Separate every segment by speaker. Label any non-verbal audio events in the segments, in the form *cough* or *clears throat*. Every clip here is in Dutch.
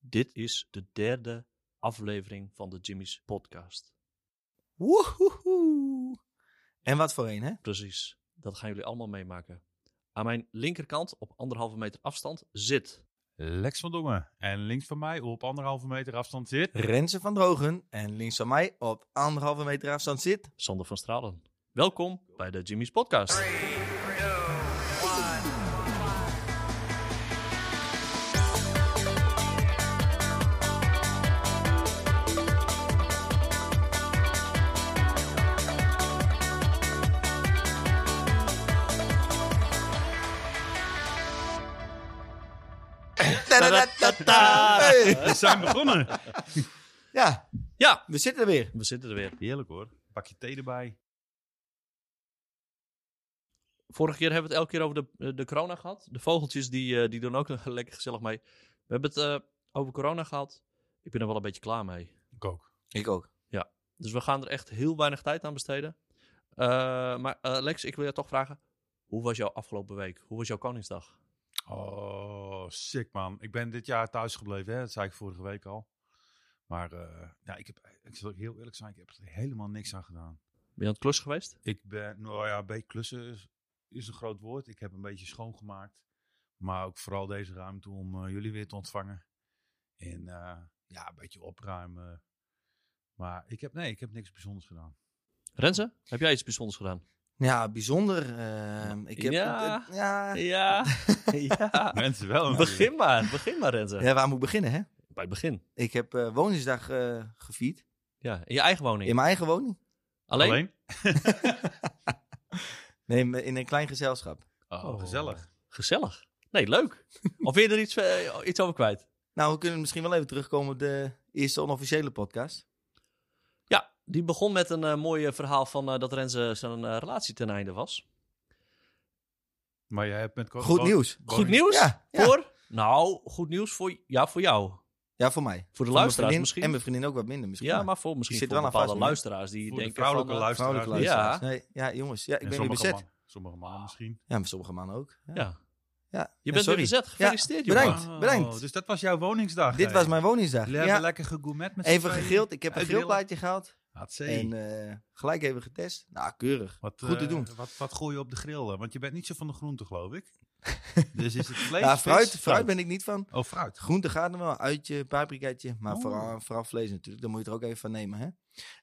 Speaker 1: Dit is de derde aflevering van de Jimmy's podcast.
Speaker 2: Woehoehoe. En wat voor een, hè?
Speaker 1: Precies, dat gaan jullie allemaal meemaken. Aan mijn linkerkant, op anderhalve meter afstand, zit...
Speaker 3: Lex van Dongen. En links van mij op anderhalve meter afstand zit. *laughs*
Speaker 2: Renze van Drogen. En links van mij op anderhalve meter afstand zit.
Speaker 1: Sander van Stralen. Welkom bij de Jimmy's Podcast.
Speaker 2: Tadadadada. Hey.
Speaker 3: We zijn begonnen.
Speaker 2: Ja,
Speaker 1: Ja,
Speaker 2: we zitten er weer.
Speaker 1: we zitten er weer.
Speaker 3: Heerlijk hoor. Pak je thee erbij.
Speaker 1: Vorige keer hebben we het elke keer over de, eh, de corona gehad. De vogeltjes die, eh, die doen ook *laughs* lekker gezellig mee. We hebben het eh, over corona gehad. Ik ben er wel een beetje klaar mee.
Speaker 3: Ik ook.
Speaker 2: Ik ook.
Speaker 1: Dus we gaan er echt heel weinig tijd aan besteden. Eh, maar eh, Lex, ik wil je toch vragen. Hoe was jouw afgelopen week? Hoe was jouw Koningsdag?
Speaker 3: Oh, sick man. Ik ben dit jaar thuis gebleven. Hè? Dat zei ik vorige week al. Maar eh, ja, ik, heb, ik zal heel eerlijk zijn. Ik heb er helemaal niks aan gedaan.
Speaker 1: Ben je aan het klus geweest?
Speaker 3: Ik ben, nou ja, bij klussen is, is een groot woord. Ik heb een beetje schoongemaakt. Maar ook vooral deze ruimte om eh, jullie weer te ontvangen. En eh, ja, een beetje opruimen. Maar ik heb, nee, ik heb niks bijzonders gedaan.
Speaker 1: Renze, heb jij iets bijzonders gedaan?
Speaker 2: Ja, bijzonder. ehm, ik heb,
Speaker 1: Ja.
Speaker 2: eh, ja.
Speaker 1: Ja.
Speaker 2: *laughs*
Speaker 1: ja.
Speaker 3: *laughs* Mensen wel.
Speaker 1: *laughs*
Speaker 3: een
Speaker 1: Begin maar. Begin maar, Renze.
Speaker 2: ja, waar moet ik beginnen, hè?
Speaker 1: Bij het begin.
Speaker 2: Ik heb eh, Woningsdag eh, gevierd.
Speaker 1: Ja, in je eigen woning.
Speaker 2: In mijn eigen woning.
Speaker 1: Alleen?
Speaker 2: Nee, maar in een klein gezelschap.
Speaker 3: Oh, gezellig.
Speaker 1: Gezellig. Nee, leuk. *laughs* Of wil je er iets, eh, iets over kwijt?
Speaker 2: Nou, we kunnen misschien wel even terugkomen op de eerste onofficiële podcast.
Speaker 1: Ja, die begon met een eh mooi eh, verhaal van eh, dat Renze zijn eh, relatie ten einde was.
Speaker 3: Maar jij hebt met co-
Speaker 2: Goed
Speaker 3: co-
Speaker 2: nieuws.
Speaker 1: Goed nieuws?
Speaker 2: Ja, ja.
Speaker 1: Voor? Nou, goed nieuws voor, ja, voor jou.
Speaker 2: Ja, voor mij.
Speaker 1: Voor de
Speaker 2: Voor mijn
Speaker 1: luisteraars
Speaker 2: vriendin
Speaker 1: misschien.
Speaker 2: En mijn vriendin ook wat minder misschien.
Speaker 1: ja,
Speaker 2: maar-
Speaker 1: maar voor misschien
Speaker 2: zit
Speaker 1: voor
Speaker 2: wel aan
Speaker 1: bepaalde
Speaker 2: vast, hè?
Speaker 1: luisteraars die
Speaker 3: Voor de
Speaker 1: denken
Speaker 3: vrouwelijke
Speaker 1: van... eh,
Speaker 3: luisteraars.
Speaker 2: Vrouwelijke
Speaker 3: niet.
Speaker 1: luisteraar.
Speaker 2: luisteraars. Nee, ja, jongens. Ja, ik
Speaker 3: En
Speaker 2: ben weer
Speaker 3: sommige,
Speaker 2: bezet.
Speaker 3: man- sommige mannen misschien.
Speaker 2: Ja, maar sommige mannen ook. Ja.
Speaker 1: ja.
Speaker 2: Ja.
Speaker 1: Je
Speaker 2: Ja,
Speaker 1: bent weer
Speaker 2: sorry.
Speaker 1: bezet. Gefeliciteerd,
Speaker 2: Ja,
Speaker 1: jongen.
Speaker 2: bedankt, bedankt.
Speaker 3: Dus dat was jouw woningsdag.
Speaker 2: Dit
Speaker 3: hè?
Speaker 2: was mijn woningsdag.
Speaker 3: Jullie hebben
Speaker 2: Ja,
Speaker 3: lekker gegourmet met z'n
Speaker 2: even
Speaker 3: tweeën.
Speaker 2: gegild. Ik heb een
Speaker 3: Uitbrillen.
Speaker 2: grillplaatje gehaald.
Speaker 3: Hatzee.
Speaker 2: En eh, gelijk even getest. Nou, keurig.
Speaker 3: Wat,
Speaker 2: Goed te
Speaker 3: eh,
Speaker 2: doen.
Speaker 3: Wat, wat gooi je op de grill? eh? Want je bent niet zo van de groenten, geloof
Speaker 2: *laughs*
Speaker 3: ik. dus is het vlees?
Speaker 2: Ja,
Speaker 3: vis,
Speaker 2: Nou, fruit, fruit ben ik niet van.
Speaker 3: Oh, fruit.
Speaker 2: Groente gaat er wel. Uitje, paprikaatje. Maar
Speaker 3: Oeh.
Speaker 2: vooral, vooral vlees natuurlijk. Daar moet je er ook even van nemen. Hè?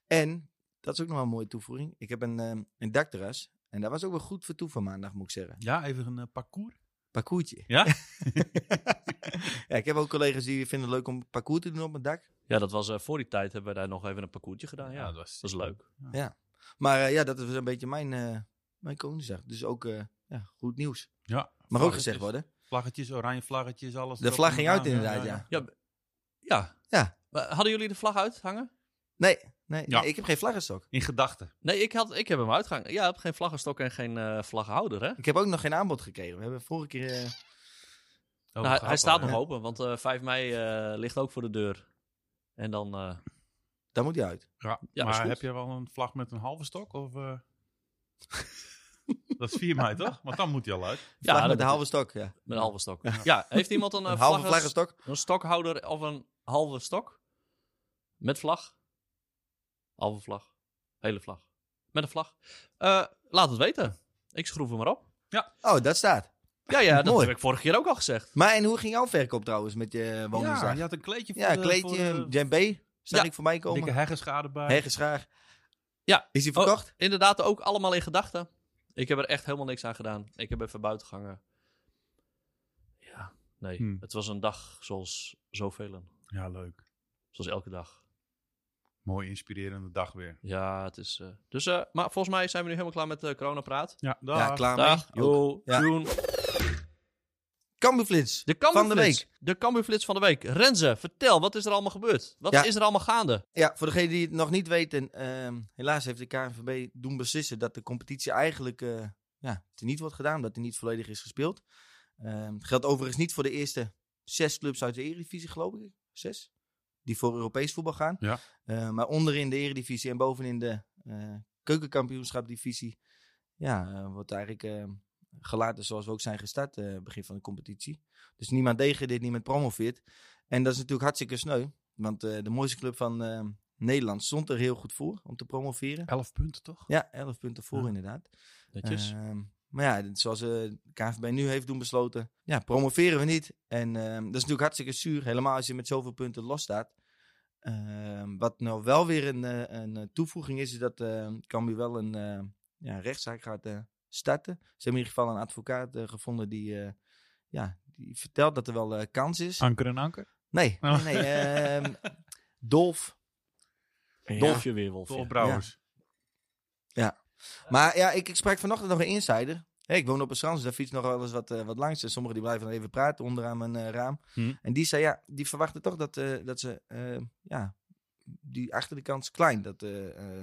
Speaker 2: En, dat is ook nog wel een mooie toevoeging. Ik heb een, ehm, een dakterras. En daar was ook wel goed voor toe van maandag, moet ik zeggen.
Speaker 3: Ja, even een eh, parcours.
Speaker 2: Parcoursje.
Speaker 3: Ja?
Speaker 2: *laughs* ja, ik heb ook collega's die vinden het leuk om parcours te doen op mijn dak.
Speaker 1: Ja, dat was eh, voor die tijd hebben we daar nog even een parcoursje gedaan. Ja, dat
Speaker 3: was,
Speaker 1: was leuk.
Speaker 2: Maar eh, ja, dat was een beetje mijn, eh mijn Koningsdag. Dus ook eh, ja, goed nieuws.
Speaker 3: Ja,
Speaker 2: Mag ook
Speaker 3: vlaggetjes.
Speaker 2: gezegd worden.
Speaker 3: Vlaggetjes, oranje vlaggetjes, alles.
Speaker 2: De
Speaker 3: erop
Speaker 2: vlag
Speaker 3: en
Speaker 2: ging uit
Speaker 3: eraan.
Speaker 2: inderdaad, ja.
Speaker 1: Ja.
Speaker 2: Ja.
Speaker 1: Maar Hadden jullie de vlag uithangen?
Speaker 2: Nee, nee,
Speaker 3: Ja.
Speaker 2: nee, ik heb geen vlaggenstok.
Speaker 3: In gedachten. Oh,
Speaker 1: Nee, ik, had, ik heb hem uitgehangen. Ja, ik heb geen vlaggenstok en geen eh, vlaghouder, hè?
Speaker 2: Ik heb ook nog geen aanbod gekregen. We hebben vorige keer... eh,
Speaker 3: Oh,
Speaker 1: nou, hij-
Speaker 3: grappig,
Speaker 1: hij staat
Speaker 3: hè?
Speaker 1: nog open, want eh 5 mei eh, ligt ook voor de deur. En dan... eh,
Speaker 2: daar moet hij uit.
Speaker 3: Ja,
Speaker 1: Ja, is
Speaker 3: maar
Speaker 1: goed.
Speaker 3: heb je wel een vlag met een halve stok? Of, eh? *laughs* dat is 4 mei, toch? Want dan moet hij al uit.
Speaker 2: Ja,
Speaker 1: dat
Speaker 2: met de
Speaker 1: moet-
Speaker 2: halve stok, ja.
Speaker 1: Met een halve stok. Ja, heeft iemand een,
Speaker 2: Een
Speaker 1: eh,
Speaker 2: halve
Speaker 1: vlaggen-
Speaker 2: vlaggenstok.
Speaker 1: Een stokhouder of een halve stok? Met vlag? Halve vlag. Hele vlag. Met een vlag. Eh, laat het weten. Ik schroef hem maar op.
Speaker 2: Oh, dat staat.
Speaker 1: Ja, ja, dat
Speaker 2: Mooi.
Speaker 1: heb ik vorige keer ook al gezegd.
Speaker 2: Maar en hoe ging jouw verkoop trouwens met je eh,
Speaker 3: Ja,
Speaker 2: woningsdag?
Speaker 3: je
Speaker 2: Ja,
Speaker 3: had een kleedje voor de-
Speaker 2: kleedje,
Speaker 3: voor de-
Speaker 2: een djembe. Zag
Speaker 1: Ja.
Speaker 2: ik voorbij komen.
Speaker 3: dikke heggenschade bij.
Speaker 2: Hergeschaar.
Speaker 1: Ja.
Speaker 2: Is hij
Speaker 1: Oh.
Speaker 2: verkocht?
Speaker 1: Inderdaad, ook allemaal in gedachten. Ik heb er echt helemaal niks aan gedaan. Ik heb even buiten gehangen. Ja, nee.
Speaker 3: Hmm.
Speaker 1: Het was een dag zoals zoveel.
Speaker 3: Ja, leuk.
Speaker 1: Zoals elke dag.
Speaker 3: Mooi inspirerende dag weer.
Speaker 1: Ja, het is... eh, Dus, eh, maar volgens mij zijn we nu helemaal klaar met de coronapraat.
Speaker 3: Ja, dag.
Speaker 2: Ja, klaar
Speaker 1: Dag,
Speaker 2: mee. Ook.
Speaker 1: yo,
Speaker 2: Ja.
Speaker 1: Joen.
Speaker 2: Cambuurflits.
Speaker 1: De
Speaker 2: Van de
Speaker 1: Cambuurflits.
Speaker 2: week.
Speaker 1: De Cambuurflits van de week. Renze, vertel, wat is er allemaal gebeurd? Wat
Speaker 2: Ja.
Speaker 1: is er allemaal gaande?
Speaker 2: Ja, voor degenen die het nog niet weten, ehm, helaas heeft de KNVB doen beslissen dat de competitie eigenlijk eh ja, teniet wordt gedaan, omdat die niet volledig is gespeeld. Ehm geldt overigens niet voor de eerste zes clubs uit de Eredivisie, geloof ik. Zes? Die voor Europees voetbal gaan.
Speaker 3: Ja.
Speaker 2: Eh, maar onderin de Eredivisie en bovenin de eh keukenkampioenschapdivisie ja, eh, wordt eigenlijk eh, gelaten zoals we ook zijn gestart eh, begin van de competitie. Dus niemand degradeert, niemand promoveert. En dat is natuurlijk hartstikke sneu. Want eh, de mooiste club van eh, Nederland stond er heel goed voor om te promoveren.
Speaker 3: Elf punten toch?
Speaker 2: Ja, 11 punten voor
Speaker 3: Ja.
Speaker 2: inderdaad.
Speaker 1: Netjes.
Speaker 2: Ehm, maar ja, dit- zoals eh, de KNVB nu heeft doen besloten, ja, promoveren we niet. En ehm, dat is natuurlijk hartstikke zuur, helemaal als je met zoveel punten losstaat. Ehm wat nou wel weer een, eh, een eh, toevoeging is, is dat ehm Cambuur wel een eh, ja, rechtszaak gaat eh, starten. Ze hebben in ieder geval een advocaat eh, gevonden die, eh, ja, die vertelt dat er wel eh, kans is.
Speaker 3: Anker en anker.
Speaker 2: Nee,
Speaker 3: Oh.
Speaker 2: nee, nee,
Speaker 3: *laughs*
Speaker 2: ehm, Dolf. Eh,
Speaker 1: Dolfje weer, Wolfje.
Speaker 3: Toch Brouwers.
Speaker 2: Maar ja, ik, ik sprak vanochtend nog een insider. Hé, ik woon op een strand, dus daar fietst nog wel eens wat, eh, wat langs. En sommigen die blijven dan even praten onderaan mijn eh, raam.
Speaker 3: Hm.
Speaker 2: En die zei, ja, die verwachten toch dat, eh, dat ze, eh, ja, die achter de kans klein, dat eh, eh,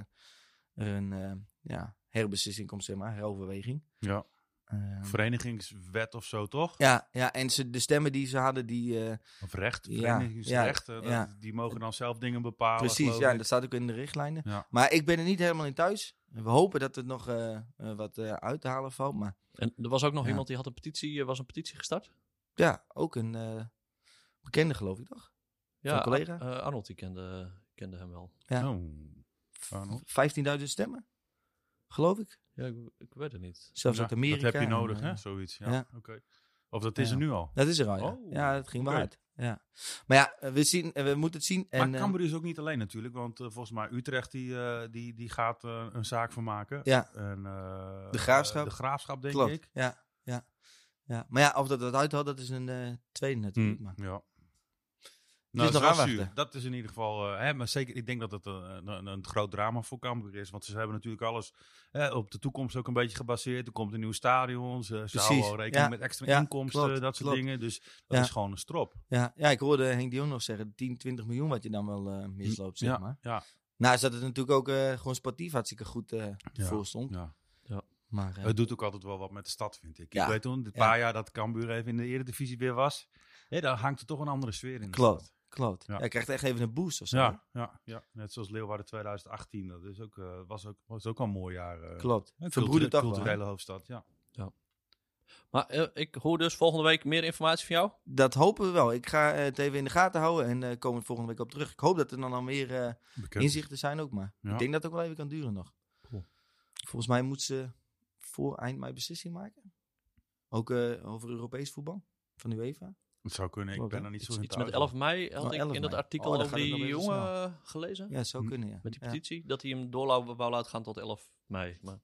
Speaker 2: er een eh, ja, herbeslissing komt, zeg maar, heroverweging.
Speaker 3: Ja.
Speaker 2: Ehm,
Speaker 3: Verenigingswet of zo toch?
Speaker 2: ja, ja, en ze, de stemmen die ze hadden, die... eh,
Speaker 3: Of recht,
Speaker 2: Ja,
Speaker 3: verenigingsrechten.
Speaker 2: ja,
Speaker 3: dat-
Speaker 2: ja.
Speaker 3: Die mogen dan zelf dingen bepalen.
Speaker 2: Precies,
Speaker 3: geloof
Speaker 2: ja,
Speaker 3: ik.
Speaker 2: dat staat ook in de richtlijnen.
Speaker 3: Ja.
Speaker 2: Maar ik ben er niet helemaal in thuis. We hopen dat het nog eh, eh, wat eh, uit te halen valt. Maar
Speaker 1: En er was ook nog
Speaker 2: Ja.
Speaker 1: iemand die had een petitie, eh, was een petitie gestart.
Speaker 2: ja, ook een eh, bekende geloof ik toch?
Speaker 1: Ja,
Speaker 2: een collega?
Speaker 1: Ar- eh, Arnold, die kende, kende hem wel.
Speaker 2: ja.
Speaker 3: Oh. Arnold.
Speaker 2: 15.000 stemmen, geloof ik.
Speaker 1: Ja, ik, ik weet het niet.
Speaker 2: Zelfs
Speaker 3: Ja,
Speaker 2: uit Amerika.
Speaker 3: Dat heb je
Speaker 2: en,
Speaker 3: nodig,
Speaker 2: eh,
Speaker 3: hè? Zoiets. Ja.
Speaker 2: ja.
Speaker 3: oké. Of dat is er
Speaker 2: Ja.
Speaker 3: nu al.
Speaker 2: Dat is er al, ja.
Speaker 3: Oh,
Speaker 2: ja, dat ging wel
Speaker 3: oké.
Speaker 2: hard. Ja. Maar ja, eh, we, zien, eh, we moeten het zien. En,
Speaker 3: maar
Speaker 2: eh,
Speaker 3: Cambuur is ook niet alleen natuurlijk, want eh, volgens mij Utrecht die, eh, die, die gaat eh, een zaak van maken.
Speaker 2: Ja.
Speaker 3: En, eh,
Speaker 2: De Graafschap?
Speaker 3: De graafschap, denk
Speaker 2: klopt.
Speaker 3: ik.
Speaker 2: Ja, ja, ja. Maar ja, of dat dat uithoudt, dat is een eh, tweede natuurlijk.
Speaker 3: Hm,
Speaker 2: Maar.
Speaker 3: Ja.
Speaker 2: nog
Speaker 3: Nou, dat is wel
Speaker 2: aanwachten.
Speaker 3: zuur. dat is in ieder geval. eh, hè, maar zeker, ik denk dat het een, een, een groot drama voor Cambuur is. Want ze hebben natuurlijk alles hè, op de toekomst ook een beetje gebaseerd. Er komt een nieuw stadion. Ze ze houden al rekening
Speaker 2: ja.
Speaker 3: met extra
Speaker 2: Ja,
Speaker 3: inkomsten,
Speaker 2: klopt,
Speaker 3: dat soort
Speaker 2: klopt.
Speaker 3: dingen. Dus dat
Speaker 2: Ja.
Speaker 3: is gewoon een strop.
Speaker 2: Ja, ja, ik hoorde Henk Dion nog zeggen, 10, 20 miljoen wat je dan wel eh, misloopt, zeg
Speaker 3: ja,
Speaker 2: maar.
Speaker 3: ja.
Speaker 2: Nou, is dat het natuurlijk ook eh, gewoon sportief hartstikke goed eh voor stond.
Speaker 3: Ja.
Speaker 2: Maar eh,
Speaker 3: Het doet ook altijd wel wat met de stad, vind ik.
Speaker 2: Ja.
Speaker 3: Ik weet toen, dit
Speaker 2: Ja.
Speaker 3: paar jaar dat Cambuur even in de Eredivisie weer was, hè, daar hangt er toch een andere sfeer in. de
Speaker 2: Klopt.
Speaker 3: stad.
Speaker 2: klopt.
Speaker 3: Ja.
Speaker 2: Ja. je krijgt echt even een boost of zo. hè?
Speaker 3: Ja, ja, ja, net zoals Leeuwarden 2018. Dat is ook, eh, was, ook, was ook al een mooi jaar. eh,
Speaker 2: Klopt.
Speaker 3: hè,
Speaker 2: Verbroedert
Speaker 3: cultu-
Speaker 2: toch wel. hè?
Speaker 3: culturele hoofdstad, ja.
Speaker 1: Maar eh, ik hoor dus volgende week meer informatie van jou.
Speaker 2: Dat hopen we wel. Ik ga eh, het even in de gaten houden en eh komen we volgende week op terug. Ik hoop dat er dan al meer eh,
Speaker 3: Bekend.
Speaker 2: inzichten zijn ook, maar
Speaker 3: Ja.
Speaker 2: ik denk dat het ook wel even kan duren nog.
Speaker 1: Cool.
Speaker 2: Volgens mij moet ze voor eind mei beslissing maken. Ook eh, over Europees voetbal van UEFA.
Speaker 3: Het zou kunnen, ik
Speaker 2: Klopt,
Speaker 3: ben
Speaker 2: hè?
Speaker 3: er niet zo
Speaker 1: Iets,
Speaker 3: in
Speaker 1: iets
Speaker 3: thuis.
Speaker 1: met 11 mei had
Speaker 2: Oh,
Speaker 1: ik
Speaker 2: 11
Speaker 1: in dat
Speaker 2: mei.
Speaker 1: artikel
Speaker 2: Oh, dan
Speaker 1: al
Speaker 2: gaat het
Speaker 1: die
Speaker 2: nog even
Speaker 1: jongen eh, gelezen.
Speaker 2: Ja, zou
Speaker 3: Hm.
Speaker 2: kunnen, ja.
Speaker 1: Met die
Speaker 2: Ja.
Speaker 1: petitie, dat hij hem door wou laten gaan tot 11 mei. Maar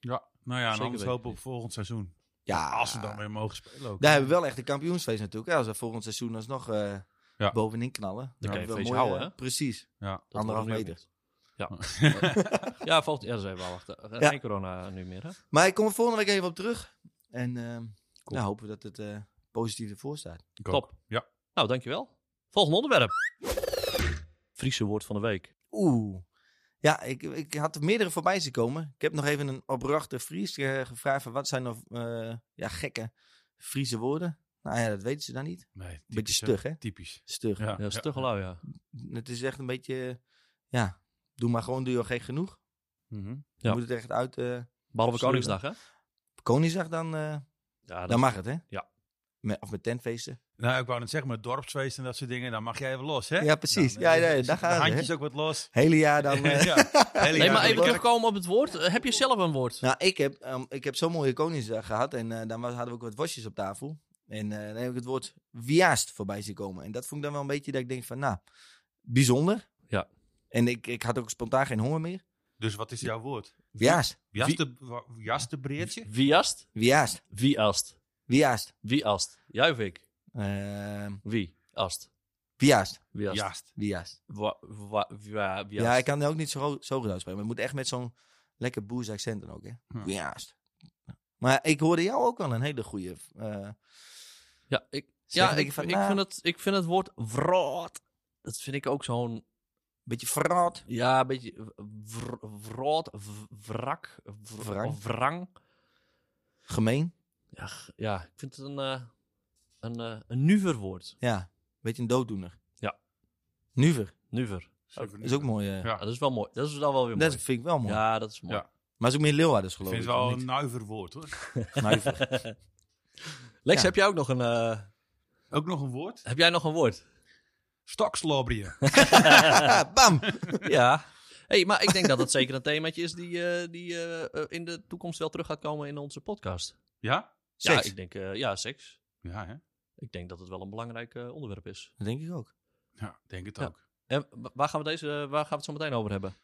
Speaker 3: Ja, nou ja, en
Speaker 1: Zeker
Speaker 3: anders
Speaker 1: weten.
Speaker 3: hopen we op volgend seizoen.
Speaker 2: Ja,
Speaker 3: Als ze dan weer mogen spelen ook.
Speaker 2: Daar hebben we wel echt een kampioensfeest natuurlijk. hè. Als we volgend seizoen alsnog eh
Speaker 3: Ja.
Speaker 2: bovenin knallen.
Speaker 1: Dan kan je
Speaker 2: hebben we
Speaker 1: feestje
Speaker 2: mooi,
Speaker 1: houden,
Speaker 2: eh,
Speaker 1: hè?
Speaker 2: Precies.
Speaker 3: Ja,
Speaker 1: dat
Speaker 2: Anderhalf
Speaker 1: wordt
Speaker 2: meter.
Speaker 1: weer goed.
Speaker 2: *laughs*
Speaker 1: Ja, ja volgens ja, dat is even wel wachten. Eh,
Speaker 2: Ja.
Speaker 1: Geen corona nu meer, hè?
Speaker 2: Maar ik kom er volgende week even op terug. En ehm
Speaker 1: Cool.
Speaker 2: nou, hopen we dat het eh, positief ervoor staat.
Speaker 3: ik ook.
Speaker 1: Top.
Speaker 3: Ja.
Speaker 1: Nou, dankjewel. Volgende onderwerp. Friese woord van de week.
Speaker 2: Oeh. Ja, ik, ik had er meerdere voorbij zien komen. Ik heb nog even een opbrachte Fries eh, gevraagd van wat zijn nou eh, ja, gekke Friese woorden. Nou ja, dat weten ze dan niet.
Speaker 3: Nee, typisch,
Speaker 2: Beetje stug, hè?
Speaker 3: Typisch.
Speaker 2: Stug.
Speaker 1: Ja, dat is toch ja.
Speaker 2: Het is echt een beetje, eh, ja, doe maar gewoon, doe je al gek genoeg.
Speaker 3: Mhm.
Speaker 1: Ja.
Speaker 2: Je moet het echt uit... eh
Speaker 1: Behalve
Speaker 2: Absoluut.
Speaker 1: Koningsdag, hè?
Speaker 2: Koningsdag dan... eh,
Speaker 1: Ja, dat-
Speaker 2: Dan mag het, hè?
Speaker 1: Ja.
Speaker 2: Met, of met tentfeesten.
Speaker 3: Nou, ik wou net zeggen, met dorpsfeesten en dat soort dingen, dan mag jij even los, hè?
Speaker 2: Ja, precies.
Speaker 3: Nou,
Speaker 2: Ja, nee,
Speaker 3: dan-
Speaker 2: daar
Speaker 3: dan zitten de
Speaker 2: gaan ze,
Speaker 3: handjes ook wat los.
Speaker 2: Hele jaar
Speaker 3: *laughs*
Speaker 2: dan. *laughs* eh.
Speaker 3: Ja, hele
Speaker 1: Nee,
Speaker 3: jaar
Speaker 1: maar
Speaker 3: door.
Speaker 1: even terugkomen op het woord. Eh, heb je zelf een woord?
Speaker 2: Nou, ik heb, ehm, ik heb zo'n mooie Koningsdag gehad. En eh, dan was, hadden we ook wat wasjes op tafel. En eh, dan heb ik het woord wiaast voorbij zien komen. En dat vond ik dan wel een beetje dat ik denk van, nou, bijzonder.
Speaker 1: Ja.
Speaker 2: En ik, ik had ook spontaan geen honger meer.
Speaker 3: Dus wat is jouw woord?
Speaker 2: Wiaast.
Speaker 3: Jaste, wa- jastebreertje?
Speaker 1: Wiast?
Speaker 2: Wiaast.
Speaker 1: Wiast.
Speaker 2: Wiaast.
Speaker 1: Wiast. Juivik.
Speaker 2: Ehm
Speaker 1: Wie? Ast.
Speaker 2: wiaast.
Speaker 1: Wiast.
Speaker 3: Jast.
Speaker 2: Wiaast.
Speaker 1: Wa- wa- wa- wiast.
Speaker 2: Ja, ik kan het ook niet zo, zo goed uitspreken. Maar het moet echt met zo'n lekker boers accent dan ook, hè?
Speaker 1: Hm.
Speaker 3: Ja.
Speaker 2: Wiaast. Maar ik hoorde jou ook wel een hele goede... eh,
Speaker 1: Ja, ik,
Speaker 2: Zeg,
Speaker 1: ja,
Speaker 2: denk
Speaker 1: ik,
Speaker 2: je van,
Speaker 1: ik,
Speaker 2: nou-
Speaker 1: vind het, ik vind het woord wroot. Dat vind ik ook zo'n.
Speaker 2: Beetje verraad.
Speaker 1: Ja, een beetje. vr- Wroot. v- Wrak. vr-
Speaker 2: Wrang.
Speaker 1: of Wrang.
Speaker 2: Gemeen.
Speaker 1: Ja, g- ja, ik vind het een. eh, een, eh, een nuver woord.
Speaker 2: Ja. Beetje een dooddoener.
Speaker 1: Ja.
Speaker 2: Nuver.
Speaker 1: Nuver.
Speaker 2: Is ook mooi. eh.
Speaker 3: Ja,
Speaker 1: Ja, dat is wel mooi. Dat is dan wel weer mooi.
Speaker 2: Dat vind ik wel mooi.
Speaker 1: Ja, dat is mooi.
Speaker 3: Ja.
Speaker 2: Maar is ook meer Leeuwarders
Speaker 3: Ik
Speaker 2: geloof
Speaker 3: vind
Speaker 2: ik.
Speaker 3: het wel
Speaker 2: of
Speaker 3: een
Speaker 2: niet?
Speaker 3: nuiver woord, hoor.
Speaker 2: Nuiver.
Speaker 1: *laughs* Lex,
Speaker 2: Ja.
Speaker 1: heb jij ook nog een. eh,
Speaker 3: Ook nog een woord?
Speaker 1: heb jij nog een woord?
Speaker 3: Stokslobberje.
Speaker 2: *laughs* Bam!
Speaker 1: ja. Hey, maar ik denk dat dat zeker een themaatje is die, eh, die eh, eh, in de toekomst wel terug gaat komen in onze podcast.
Speaker 3: Ja?
Speaker 1: Ja,
Speaker 2: Seks.
Speaker 1: ik denk, eh, ja, seks.
Speaker 3: Ja, hè?
Speaker 1: Ik denk dat het wel een belangrijk eh, onderwerp is.
Speaker 2: Dat denk ik ook.
Speaker 3: Ja, denk het
Speaker 1: Ja.
Speaker 3: ook.
Speaker 1: En wa- waar gaan, we deze, eh, waar gaan we het zo meteen over hebben?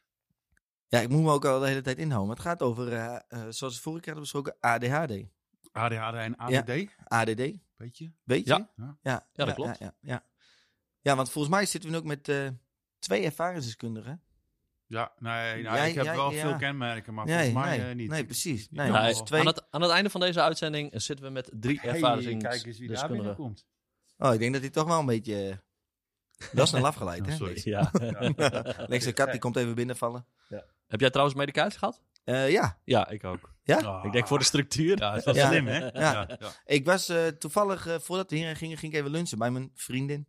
Speaker 2: Ja, ik moet me ook al de hele tijd inhouden. Maar het gaat over, eh, eh, zoals we vorige keer hadden besproken, ADHD.
Speaker 3: ADHD en ADD,
Speaker 2: ADD,
Speaker 3: weet je?
Speaker 2: weet je?
Speaker 1: Ja.
Speaker 3: Ja.
Speaker 2: ja,
Speaker 1: dat klopt.
Speaker 2: Ja, ja, ja. Ja, want volgens mij zitten we nu ook met eh, twee ervaringsdeskundigen.
Speaker 3: Ja, nee, nou,
Speaker 2: Jij-
Speaker 3: ik heb
Speaker 2: jij-
Speaker 3: wel
Speaker 2: ja.
Speaker 3: veel kenmerken, maar
Speaker 2: Nee,
Speaker 3: volgens mij
Speaker 2: nee.
Speaker 3: eh, niet.
Speaker 2: Nee,
Speaker 3: Ik-
Speaker 2: precies.
Speaker 3: ik-
Speaker 2: Nee,
Speaker 3: ik-
Speaker 2: maar
Speaker 1: Nou,
Speaker 2: als twee-
Speaker 1: aan, het, aan het einde van deze uitzending eh, zitten we met drie dus
Speaker 3: Hey, kijk eens wie daar
Speaker 1: ervaringsdeskundigen.
Speaker 3: binnenkomt.
Speaker 2: Oh, ik denk dat hij toch wel een beetje... eh, dat is snel afgeleid,
Speaker 3: Oh,
Speaker 2: *laughs* hè?
Speaker 3: sorry.
Speaker 1: Ja. *laughs*
Speaker 3: Ja.
Speaker 2: Lex de
Speaker 3: *laughs*
Speaker 2: Kat, die komt even binnenvallen.
Speaker 1: Heb jij trouwens medicatie gehad?
Speaker 2: Eh, ja,
Speaker 1: Ja, ik ook.
Speaker 3: Ah.
Speaker 1: Ik denk voor de structuur.
Speaker 3: Ja, dat is wel
Speaker 2: Ja.
Speaker 3: slim, hè?
Speaker 2: Ja.
Speaker 3: ja.
Speaker 2: ik was eh, toevallig, eh, voordat we hierheen gingen, ging ik even lunchen bij mijn vriendin.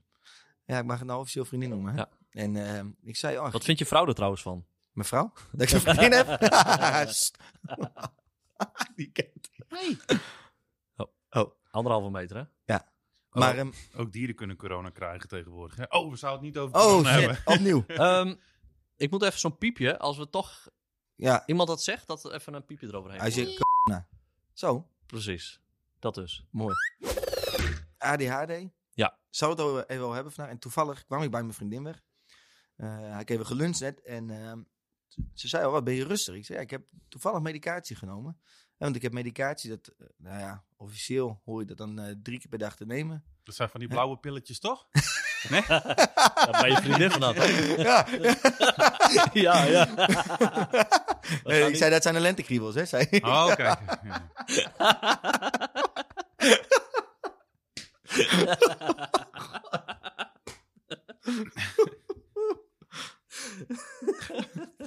Speaker 2: Ja, ik mag het nou officieel vriendin noemen, hè?
Speaker 1: Ja.
Speaker 2: En eh, ik zei, oh,
Speaker 1: Wat vindt je vrouw er trouwens van?
Speaker 2: mevrouw, dat ik een vriendin heb? *laughs* Sst. die kent.
Speaker 1: Oh. Anderhalve meter, hè?
Speaker 2: Maar,
Speaker 3: Oh.
Speaker 2: ehm,
Speaker 3: Ook dieren kunnen corona krijgen tegenwoordig. Hè? Oh, we zouden het niet over corona
Speaker 2: oh
Speaker 1: nou
Speaker 3: hebben.
Speaker 2: shit, opnieuw.
Speaker 1: Ehm, ik moet even zo'n piepje, als we toch
Speaker 2: Ja,
Speaker 1: iemand dat zegt, dat er even een piepje eroverheen
Speaker 2: als
Speaker 1: komt.
Speaker 2: je... nou. Zo,
Speaker 1: Precies. Dat dus.
Speaker 2: mooi. ADHD.
Speaker 1: Ja.
Speaker 2: Zou het over- even wel hebben vandaag. En toevallig kwam ik bij mijn vriendin weg. Eh ik heb even geluncht net. En ehm, ze zei al, wat ben je rustig? Ik zei, ja, ik heb toevallig medicatie genomen. En want ik heb medicatie, dat, eh, nou ja, officieel hoor je dat dan eh, drie keer per dag te nemen.
Speaker 3: Dat zijn van die blauwe pilletjes, toch?
Speaker 1: Ja, bij je vriendin van dat.
Speaker 2: ja,
Speaker 1: *laughs* ja, ja.
Speaker 2: nee, ik zei, dat zijn de lentekriebels, hè, zei
Speaker 3: Oh,
Speaker 2: *laughs*
Speaker 3: kijk. Ja.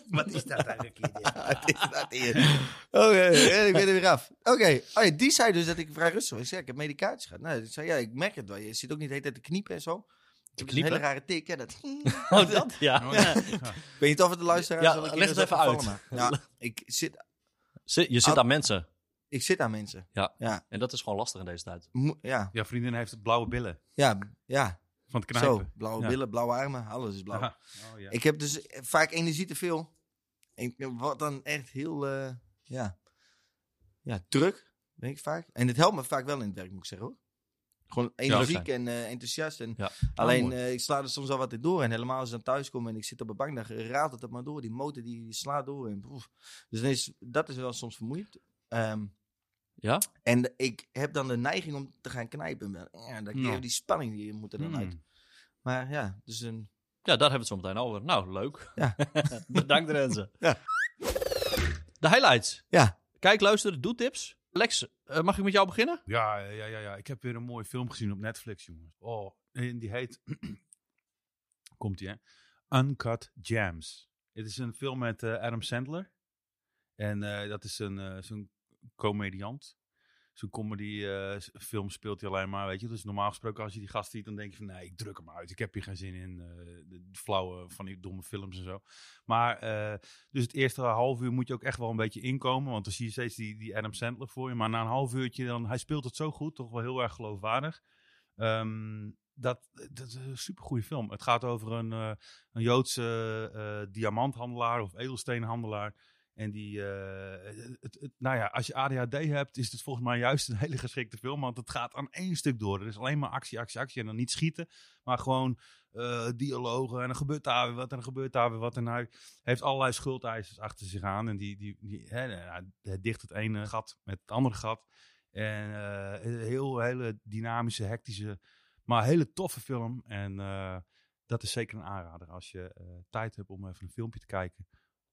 Speaker 3: Wat is
Speaker 2: *laughs*
Speaker 3: dat eigenlijk? hier?
Speaker 2: Het is dat hier. Oké, en ik ben er weer af. Oké, oh ja, die zei dus dat ik vrij rustig was. Ik zei, ik heb medicatie gehad. Nou, ik zei, ja, ik merk het wel. Je zit ook niet de hele tijd te kniepen en zo. Ik heb een
Speaker 1: kniepen?
Speaker 2: hele rare tik. Ja, dat...
Speaker 1: *laughs* Oh, dat? Ja.
Speaker 3: Oh, ja. Ja.
Speaker 2: Ik weet niet of het de luisteraars...
Speaker 1: Ja,
Speaker 2: wel een keer
Speaker 1: leg het
Speaker 2: is
Speaker 1: even
Speaker 2: opgevallen,
Speaker 1: uit.
Speaker 2: maar-
Speaker 1: *laughs*
Speaker 2: Ja, ik zit,
Speaker 1: Zit- Je zit aan mensen.
Speaker 2: ik zit aan mensen.
Speaker 1: En dat is gewoon lastig in deze tijd.
Speaker 2: Mo- ja,
Speaker 3: Jouw vriendin heeft blauwe billen
Speaker 2: ja, ja.
Speaker 3: van het knijpen.
Speaker 2: Zo, blauwe
Speaker 3: Ja.
Speaker 2: billen, blauwe armen. Alles is blauw.
Speaker 3: Aha. Oh, ja.
Speaker 2: Ik heb dus vaak energie te veel. En wat dan echt heel, eh, ja. ja, druk, denk ik vaak. En het helpt me vaak wel in het werk, moet ik zeggen hoor. Gewoon energiek en eh, enthousiast. En
Speaker 1: Ja.
Speaker 2: Alleen,
Speaker 1: Oh, mooi.
Speaker 2: eh, ik sla er soms al wat in door. En helemaal als ik dan thuis kom en ik zit op een bank, dan raadt het dat maar door. Die motor die, die slaat door. En, oef. Dus dan is, dat is wel soms vermoeiend. Ehm,
Speaker 1: Ja?
Speaker 2: en ik heb dan de neiging om te gaan knijpen. Maar, Ja, dan
Speaker 3: Nou.
Speaker 2: die spanning die moet er dan uit.
Speaker 3: Hmm.
Speaker 2: Maar ja, dus een
Speaker 1: Ja, daar hebben we het zo meteen over. Nou, leuk.
Speaker 2: Ja.
Speaker 1: *laughs* Bedankt, Renze.
Speaker 2: Ja.
Speaker 1: De highlights.
Speaker 2: Ja.
Speaker 1: Kijk, luister, doe tips. Lex, eh, mag ik met jou beginnen?
Speaker 3: Ja, ja, ja, ja. Ik heb weer een mooie film gezien op Netflix, jongens. Oh, en die heet... *clears throat* Komt ie, hè? Uncut Gems. Het is een film met eh, Adam Sandler. En eh, dat is een eh, zo'n comediant. Zo'n comedy eh, s- film speelt hij alleen maar, weet je. Dus normaal gesproken als je die gast ziet, dan denk je van... Nee, ik druk hem uit. Ik heb hier geen zin in. eh, de flauwe van die domme films en zo. Maar eh, dus het eerste half uur moet je ook echt wel een beetje inkomen. Want dan zie je steeds die, die Adam Sandler voor je. Maar na een half uurtje, dan, hij speelt het zo goed. Toch wel heel erg geloofwaardig. Ehm, dat, dat is een supergoeie film. Het gaat over een, eh, een Joodse eh, diamanthandelaar of edelsteenhandelaar. En die, eh, het, het- nou ja, als je ADHD hebt, is het volgens mij juist een *laughs* hele geschikte film. Want het gaat aan één stuk door. Er is alleen maar actie, actie, actie. En dan niet schieten, maar gewoon eh, dialogen. En dan gebeurt daar weer wat en dan gebeurt daar weer wat. En hij heeft allerlei schuldeisers achter zich aan. En die, die, die hè, nou ja, hij dicht het ene gat met het andere gat. En eh, een heel hele dynamische, hectische, maar hele toffe film. En eh, dat is zeker een aanrader. Als je eh, tijd hebt om even een filmpje te kijken,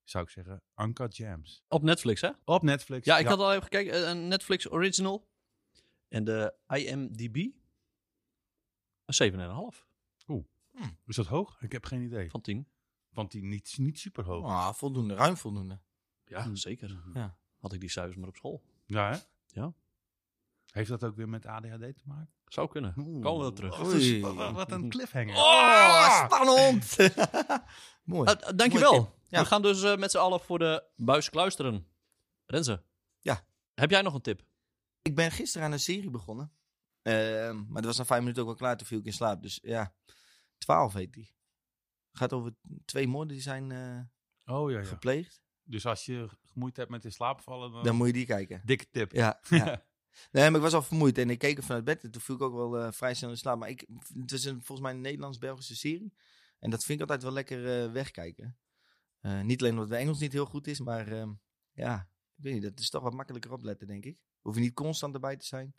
Speaker 3: zou ik zeggen Anka Jams.
Speaker 1: Op Netflix, hè?
Speaker 3: Op Netflix.
Speaker 1: Ja, ik had al even gekeken. eh, Een Netflix original. En de IMDb. Een 7,5
Speaker 3: Is dat hoog? Ik heb geen idee.
Speaker 1: van 10.
Speaker 3: Want die niet, niet super hoog.
Speaker 1: Oh.
Speaker 2: ah, voldoende, ruim voldoende.
Speaker 1: Ja, Mm. zeker.
Speaker 2: Ja. Mm-hmm.
Speaker 1: Had ik die cijfers maar op school.
Speaker 3: Ja, hè?
Speaker 1: Ja.
Speaker 3: Heeft dat ook weer met ADHD te maken?
Speaker 1: Zou kunnen.
Speaker 2: Mm.
Speaker 3: Oeh.
Speaker 1: Komen we wel terug.
Speaker 3: Wat een-
Speaker 2: Oei.
Speaker 3: Wat wat een cliffhanger. Ah!
Speaker 2: Oh,
Speaker 3: *laughs*
Speaker 2: spannend! Oh, Mooi.
Speaker 1: Eh, eh, dankjewel.
Speaker 2: Ja.
Speaker 1: We gaan dus eh, met z'n allen voor de buis kluisteren. Renze.
Speaker 2: Ja.
Speaker 1: Heb jij nog een tip?
Speaker 2: Ik ben gisteren aan een serie begonnen. Ehm, maar dat was na vijf minuten ook al klaar, toen viel ik in slaap. Dus ja, 12 heet die. Gaat over twee moorden die zijn eh,
Speaker 3: Oh ja, ja.
Speaker 2: gepleegd.
Speaker 3: Dus als je gemoeid hebt met in slaap vallen, dan,
Speaker 2: Dan moet je die kijken.
Speaker 3: dikke tip.
Speaker 2: *laughs* Ja, ja. Nee, maar ik was al vermoeid en ik keek er vanuit bed. En toen viel ik ook wel eh, vrij snel in slaap. Maar ik, het is een, volgens mij een Nederlands-Belgische serie. En dat vind ik altijd wel lekker eh, wegkijken. Eh, niet alleen omdat het Engels niet heel goed is, maar ehm, ja, ik weet niet. Dat is toch wat makkelijker opletten, denk ik. Hoef je niet constant erbij te zijn.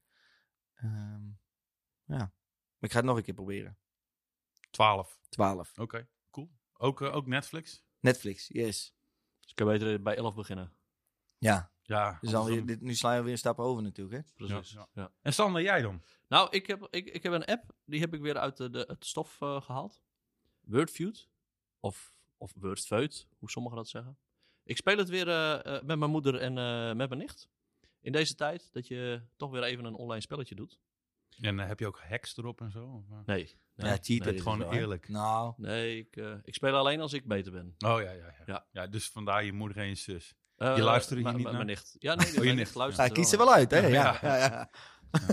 Speaker 2: Ehm, ja, maar ik ga het nog een keer proberen.
Speaker 3: 12.
Speaker 2: 12.
Speaker 3: Oké, cool. Ook, eh, ook Netflix?
Speaker 2: Netflix, yes.
Speaker 1: Dus ik kan beter bij 11 beginnen.
Speaker 2: Ja,
Speaker 3: Ja,
Speaker 2: dus
Speaker 3: anders
Speaker 2: dan,
Speaker 3: dan-
Speaker 2: dit, nu sla je weer een stap over natuurlijk, hè?
Speaker 1: Precies.
Speaker 3: Ja,
Speaker 1: ja.
Speaker 3: En Sander, jij dan?
Speaker 1: Nou, ik heb, ik, ik heb een app. Die heb ik weer uit de, de, het stof eh, gehaald. Wordfeud. Of, of Wordfeud, hoe sommigen dat zeggen. Ik speel het weer eh, eh, met mijn moeder en eh, met mijn nicht. In deze tijd dat je toch weer even een online spelletje doet.
Speaker 3: En eh, heb je ook hacks erop en zo? Of,
Speaker 1: Nee.
Speaker 3: eh?
Speaker 1: nee
Speaker 2: Ja, cheater
Speaker 1: nee.
Speaker 2: is
Speaker 3: gewoon
Speaker 2: het wel, hè?
Speaker 3: eerlijk.
Speaker 2: Nou,
Speaker 1: Nee, ik, eh, ik speel alleen als ik beter ben.
Speaker 3: Oh ja, ja, ja,
Speaker 1: Ja.
Speaker 3: ja. dus vandaar je moeder en je zus.
Speaker 1: Eh,
Speaker 3: Je luistert hier
Speaker 1: maar-
Speaker 3: niet
Speaker 1: maar-
Speaker 3: naar? Oh,
Speaker 1: Mijn nicht. Ja, nee,
Speaker 3: je
Speaker 1: mijn
Speaker 3: nicht.
Speaker 1: nicht luistert
Speaker 2: ja,
Speaker 1: er
Speaker 2: kies er
Speaker 1: naar.
Speaker 2: wel uit, hè?
Speaker 3: Ja,
Speaker 2: Ja, ja,
Speaker 3: ja.
Speaker 2: ja.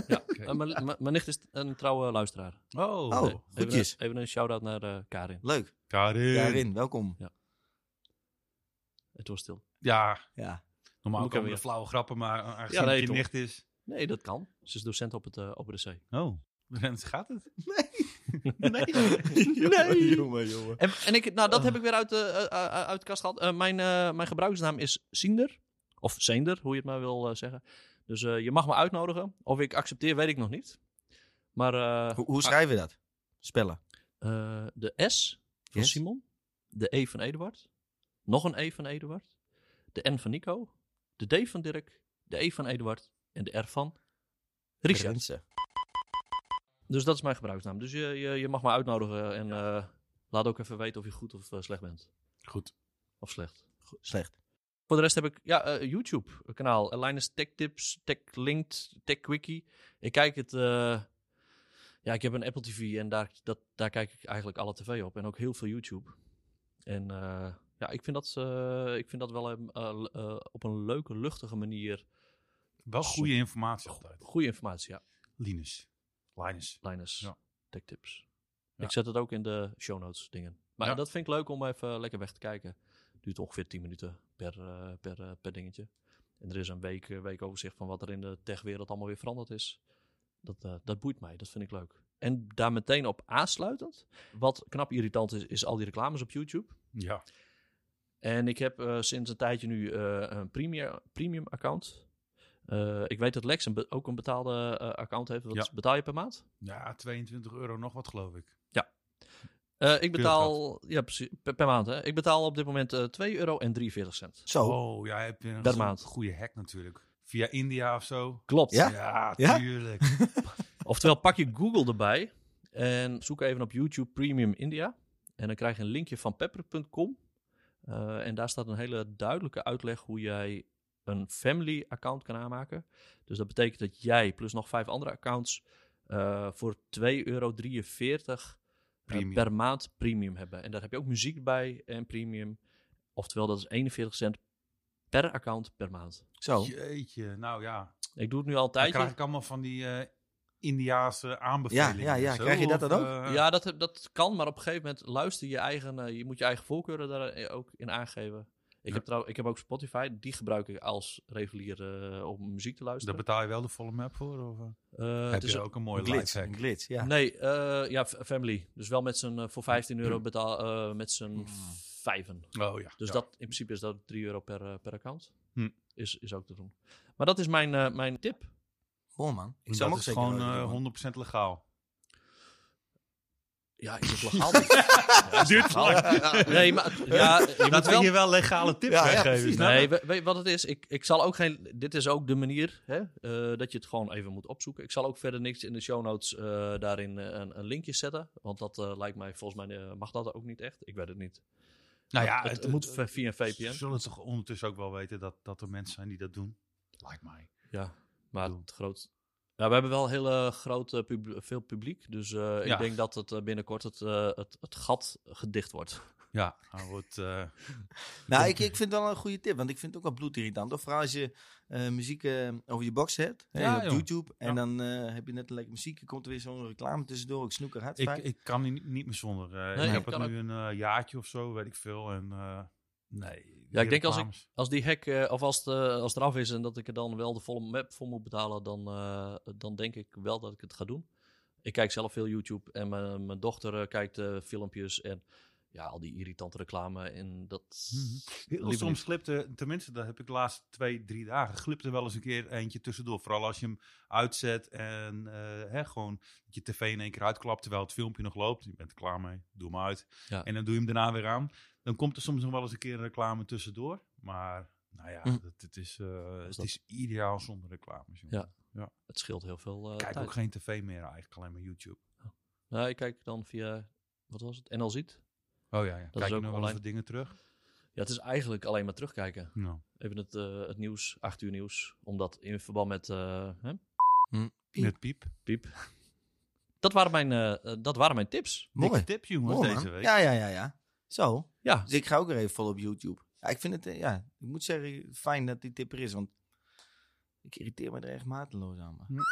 Speaker 1: Ja.
Speaker 3: Oké.
Speaker 1: Eh, mijn, mijn- mijn nicht is een trouwe luisteraar.
Speaker 3: Oh,
Speaker 1: Nee,
Speaker 2: Oh,
Speaker 1: even,
Speaker 2: goedjes.
Speaker 1: een, even een shout-out naar eh, Karin.
Speaker 2: Leuk.
Speaker 3: Karin.
Speaker 2: Daarin, welkom.
Speaker 1: Het was stil.
Speaker 3: Ja,
Speaker 2: Ja.
Speaker 3: normaal
Speaker 1: Moet ik hem
Speaker 3: komen
Speaker 1: weer.
Speaker 3: er flauwe grappen, maar a- aangezien
Speaker 1: Ja, nee,
Speaker 3: het je
Speaker 1: toch.
Speaker 3: nicht is...
Speaker 1: Nee, dat kan. Ze is docent op het eh, Open de Zee.
Speaker 3: Oh, Rens, gaat het? *laughs*
Speaker 1: Nee.
Speaker 2: Jongen, jongen.
Speaker 1: En, en ik, nou, dat heb ik weer uit de, eh, eh, uit de kast gehad. Eh, mijn, eh, mijn gebruiksnaam is Ziender. Of Zender, hoe je het maar wil eh, zeggen. Dus eh, je mag me uitnodigen. Of ik accepteer, weet ik nog niet. Maar eh,
Speaker 2: Hoe, hoe schrijven we dat? Spellen.
Speaker 1: eh, de S van
Speaker 2: Yes.
Speaker 1: Simon. De E van Eduard. Nog een E van Eduard. De N van Nico. De D van Dirk. De E van Eduard. En de R van Richard.
Speaker 2: Grenzen.
Speaker 1: Dus dat is mijn gebruiksnaam. Dus je, je, je mag me uitnodigen. En eh, laat ook even weten of je goed of eh, slecht bent.
Speaker 3: Goed.
Speaker 1: Of slecht.
Speaker 2: Slecht.
Speaker 1: Voor de rest heb ik ja, eh, YouTube een kanaal. Linus Tech Tips, Tech Linked, Tech Wiki. Ik kijk het. eh, ja, ik heb een Apple TV en daar, dat, daar kijk ik eigenlijk alle tv op. En ook heel veel YouTube. En eh, ja, ik vind dat, eh, ik vind dat wel een, eh, l- eh, op een leuke, luchtige manier.
Speaker 3: Wel goede informatie altijd.
Speaker 1: Goede informatie, ja.
Speaker 3: Linus. Linus.
Speaker 1: Linus
Speaker 3: Ja.
Speaker 1: Tech Tips.
Speaker 3: Ja.
Speaker 1: Ik zet het ook in de show notes dingen. Maar
Speaker 3: Ja.
Speaker 1: dat vind ik leuk om even lekker weg te kijken. Duurt ongeveer 10 minuten per, eh, per, eh, per dingetje. En er is een week, eh, weekoverzicht van wat er in de techwereld allemaal weer veranderd is. Dat, eh, dat boeit mij, dat vind ik leuk. En daar meteen op aansluitend, wat knap irritant is, is al die reclames op YouTube.
Speaker 3: Ja.
Speaker 1: En ik heb eh, sinds een tijdje nu eh, een premium, premium account. Eh, ik weet dat Lex een be- ook een betaalde eh, account heeft. Wat
Speaker 3: Ja.
Speaker 1: betaal je per maand?
Speaker 3: ja, 22 euro nog wat, geloof ik.
Speaker 1: Eh, ik betaal ja, precies, per, per maand. Hè. Ik betaal op dit moment eh 2 euro en 43 cent.
Speaker 2: Zo.
Speaker 3: Oh, jij hebt weer een
Speaker 1: Per
Speaker 3: zo'n
Speaker 1: maand.
Speaker 3: goede hack natuurlijk. Via India of zo.
Speaker 1: Klopt.
Speaker 2: Ja? Ja? *laughs*
Speaker 3: tuurlijk.
Speaker 1: Oftewel, pak je Google erbij en zoek even op YouTube Premium India. En dan krijg je een linkje van pepper.com. Eh, en daar staat een hele duidelijke uitleg hoe jij een family account kan aanmaken. Dus dat betekent dat jij plus nog vijf andere accounts eh, voor 2,43 euro
Speaker 3: Premium.
Speaker 1: Eh, per maand premium hebben. En daar heb je ook muziek bij en premium. Oftewel, dat is 41 cent per account per maand.
Speaker 2: Zo.
Speaker 3: Jeetje, nou ja.
Speaker 1: Ik doe het nu al een
Speaker 3: Dan
Speaker 1: tijdje.
Speaker 3: krijg ik allemaal van die eh Indiaanse aanbevelingen.
Speaker 2: Ja, ja, ja.
Speaker 3: en zo,
Speaker 2: Krijg je dat
Speaker 3: of,
Speaker 2: dan ook?
Speaker 3: eh,
Speaker 1: Ja, dat, dat kan, maar op een gegeven moment luister je eigen, eh, je moet je eigen voorkeuren daar eh, ook in aangeven. Ik,
Speaker 3: Ja.
Speaker 1: heb trouw, ik heb ook Spotify, die gebruik ik als regulier eh, om muziek te
Speaker 3: Daar
Speaker 1: luisteren.
Speaker 3: betaal je wel de volle map voor? Of, eh?
Speaker 1: Eh, het
Speaker 3: heb
Speaker 1: is
Speaker 3: je ook een mooie
Speaker 2: Een glitch.
Speaker 3: lifehack?
Speaker 2: Een glitch, ja.
Speaker 1: Nee, eh, ja, f- family. Dus wel met z'n, eh, voor 15 euro betaal, eh, met z'n
Speaker 3: Mm.
Speaker 1: vijven.
Speaker 3: Oh ja.
Speaker 1: Dus
Speaker 3: ja.
Speaker 1: dat, in principe is dat 3 euro per, eh, per account.
Speaker 3: Hm.
Speaker 1: Is, is ook te doen. Maar dat is mijn, eh, mijn tip.
Speaker 2: Bon, man. Ik zou
Speaker 3: En
Speaker 2: hem
Speaker 3: dat
Speaker 2: ook
Speaker 3: is
Speaker 2: zeker
Speaker 3: gewoon
Speaker 2: nooit
Speaker 3: eh,
Speaker 2: doen, man.
Speaker 3: 100% legaal.
Speaker 1: Ja, is het *laughs* legaal? Ja,
Speaker 3: duurt Oh. *laughs*
Speaker 1: nee, maar ja, je moet
Speaker 3: dat we
Speaker 1: wel-
Speaker 3: hier wel legale tips
Speaker 2: Ja, ja,
Speaker 3: weggeven. Dus nou,
Speaker 2: precies.
Speaker 3: snap
Speaker 1: Nee, we-
Speaker 3: je?
Speaker 1: weet je wat het is? Ik, ik zal ook geen. Dit is ook de manier hè, eh, dat je het gewoon even moet opzoeken. Ik zal ook verder niks in de show notes eh, daarin eh, een, een linkje zetten. Want dat eh, lijkt mij, volgens mij eh, mag dat ook niet echt. Ik weet het niet.
Speaker 3: Nou
Speaker 1: Dat-
Speaker 3: ja,
Speaker 1: het, het moet v- via een
Speaker 3: Ze
Speaker 1: VPN.
Speaker 3: zullen toch ondertussen ook wel weten dat, dat er mensen zijn die dat doen? Lijkt mij.
Speaker 1: Ja, maar
Speaker 3: Doe.
Speaker 1: het groot. Ja, we hebben wel heel eh, groot, eh, pub- veel publiek. Dus eh, ik
Speaker 3: Ja.
Speaker 1: denk dat het eh, binnenkort het, eh, het, het gat gedicht wordt.
Speaker 3: Ja, hij wordt... eh,
Speaker 2: *laughs* Nou, ik, ik vind het wel een goede tip, want ik vind het ook wel bloedirritant. Of vooral als je eh, muziek eh, over je box hebt, hè,
Speaker 3: Ja,
Speaker 2: op
Speaker 3: joh.
Speaker 2: YouTube, en
Speaker 3: Ja.
Speaker 2: dan eh, heb je net een lekker muziek, er komt er weer zo'n reclame tussendoor, ik snoeker hard
Speaker 3: ik,
Speaker 2: vaak.
Speaker 3: ik kan hier niet, niet meer zonder. eh,
Speaker 1: Nee,
Speaker 3: ik heb
Speaker 1: ik
Speaker 3: het
Speaker 1: kan
Speaker 3: nu een eh, jaartje of zo, weet ik veel. En eh, nee.
Speaker 1: Ja, ik
Speaker 3: die
Speaker 1: denk als ik-
Speaker 3: reclames.
Speaker 1: Als die hack, eh, of als, het, eh, als het eraf is en dat ik er dan wel de volle map voor moet betalen, dan, eh, dan denk ik wel dat ik het ga doen. Ik kijk zelf veel YouTube en mijn, mijn dochter eh, kijkt eh, filmpjes en ja, al die irritante reclame en dat...
Speaker 3: Mhm. Heel
Speaker 1: liever
Speaker 3: soms
Speaker 1: niet.
Speaker 3: glipte, tenminste, dat heb ik de laatste twee, drie dagen, glipte wel eens een keer eentje tussendoor. Vooral als je hem uitzet en eh, hè, gewoon dat je tv in één keer uitklapt terwijl het filmpje nog loopt. Je bent er klaar mee, doe hem uit.
Speaker 1: Ja.
Speaker 3: En dan doe je hem daarna weer aan. Dan komt er soms nog wel eens een keer een reclame tussendoor. Maar nou ja,
Speaker 2: Hm.
Speaker 3: dat, het, is, eh, het
Speaker 1: dat-
Speaker 3: is ideaal zonder reclames. jongen.
Speaker 1: Ja. Het scheelt heel veel eh,
Speaker 3: Ik Kijk
Speaker 1: tijd.
Speaker 3: ook geen tv meer eigenlijk, alleen maar YouTube.
Speaker 1: Nou, ik kijk dan via, wat was het, NL Ziet.
Speaker 3: Oh ja, ja.
Speaker 1: is
Speaker 3: kijk je
Speaker 1: ook
Speaker 3: nog wel eens
Speaker 1: online.
Speaker 3: wat dingen terug?
Speaker 1: Ja, het is eigenlijk alleen maar terugkijken.
Speaker 3: Nou,
Speaker 1: Even het, eh, het nieuws, 8 uur nieuws. Omdat in verband met eh, hè,
Speaker 2: Piep.
Speaker 3: met piep.
Speaker 1: piep. Dat waren, mijn, eh, eh, dat waren mijn tips.
Speaker 2: Mooi.
Speaker 3: Dikke tips jongens
Speaker 2: Mooi,
Speaker 3: deze
Speaker 2: man.
Speaker 3: week.
Speaker 2: Ja, ja, ja, ja. Zo.
Speaker 1: Ja,
Speaker 2: Dus ik ga ook er even vol op YouTube. Ja, ik vind het, eh, ja, ik moet zeggen, fijn dat die tip er is, want ik irriteer me er echt mateloos aan. maar-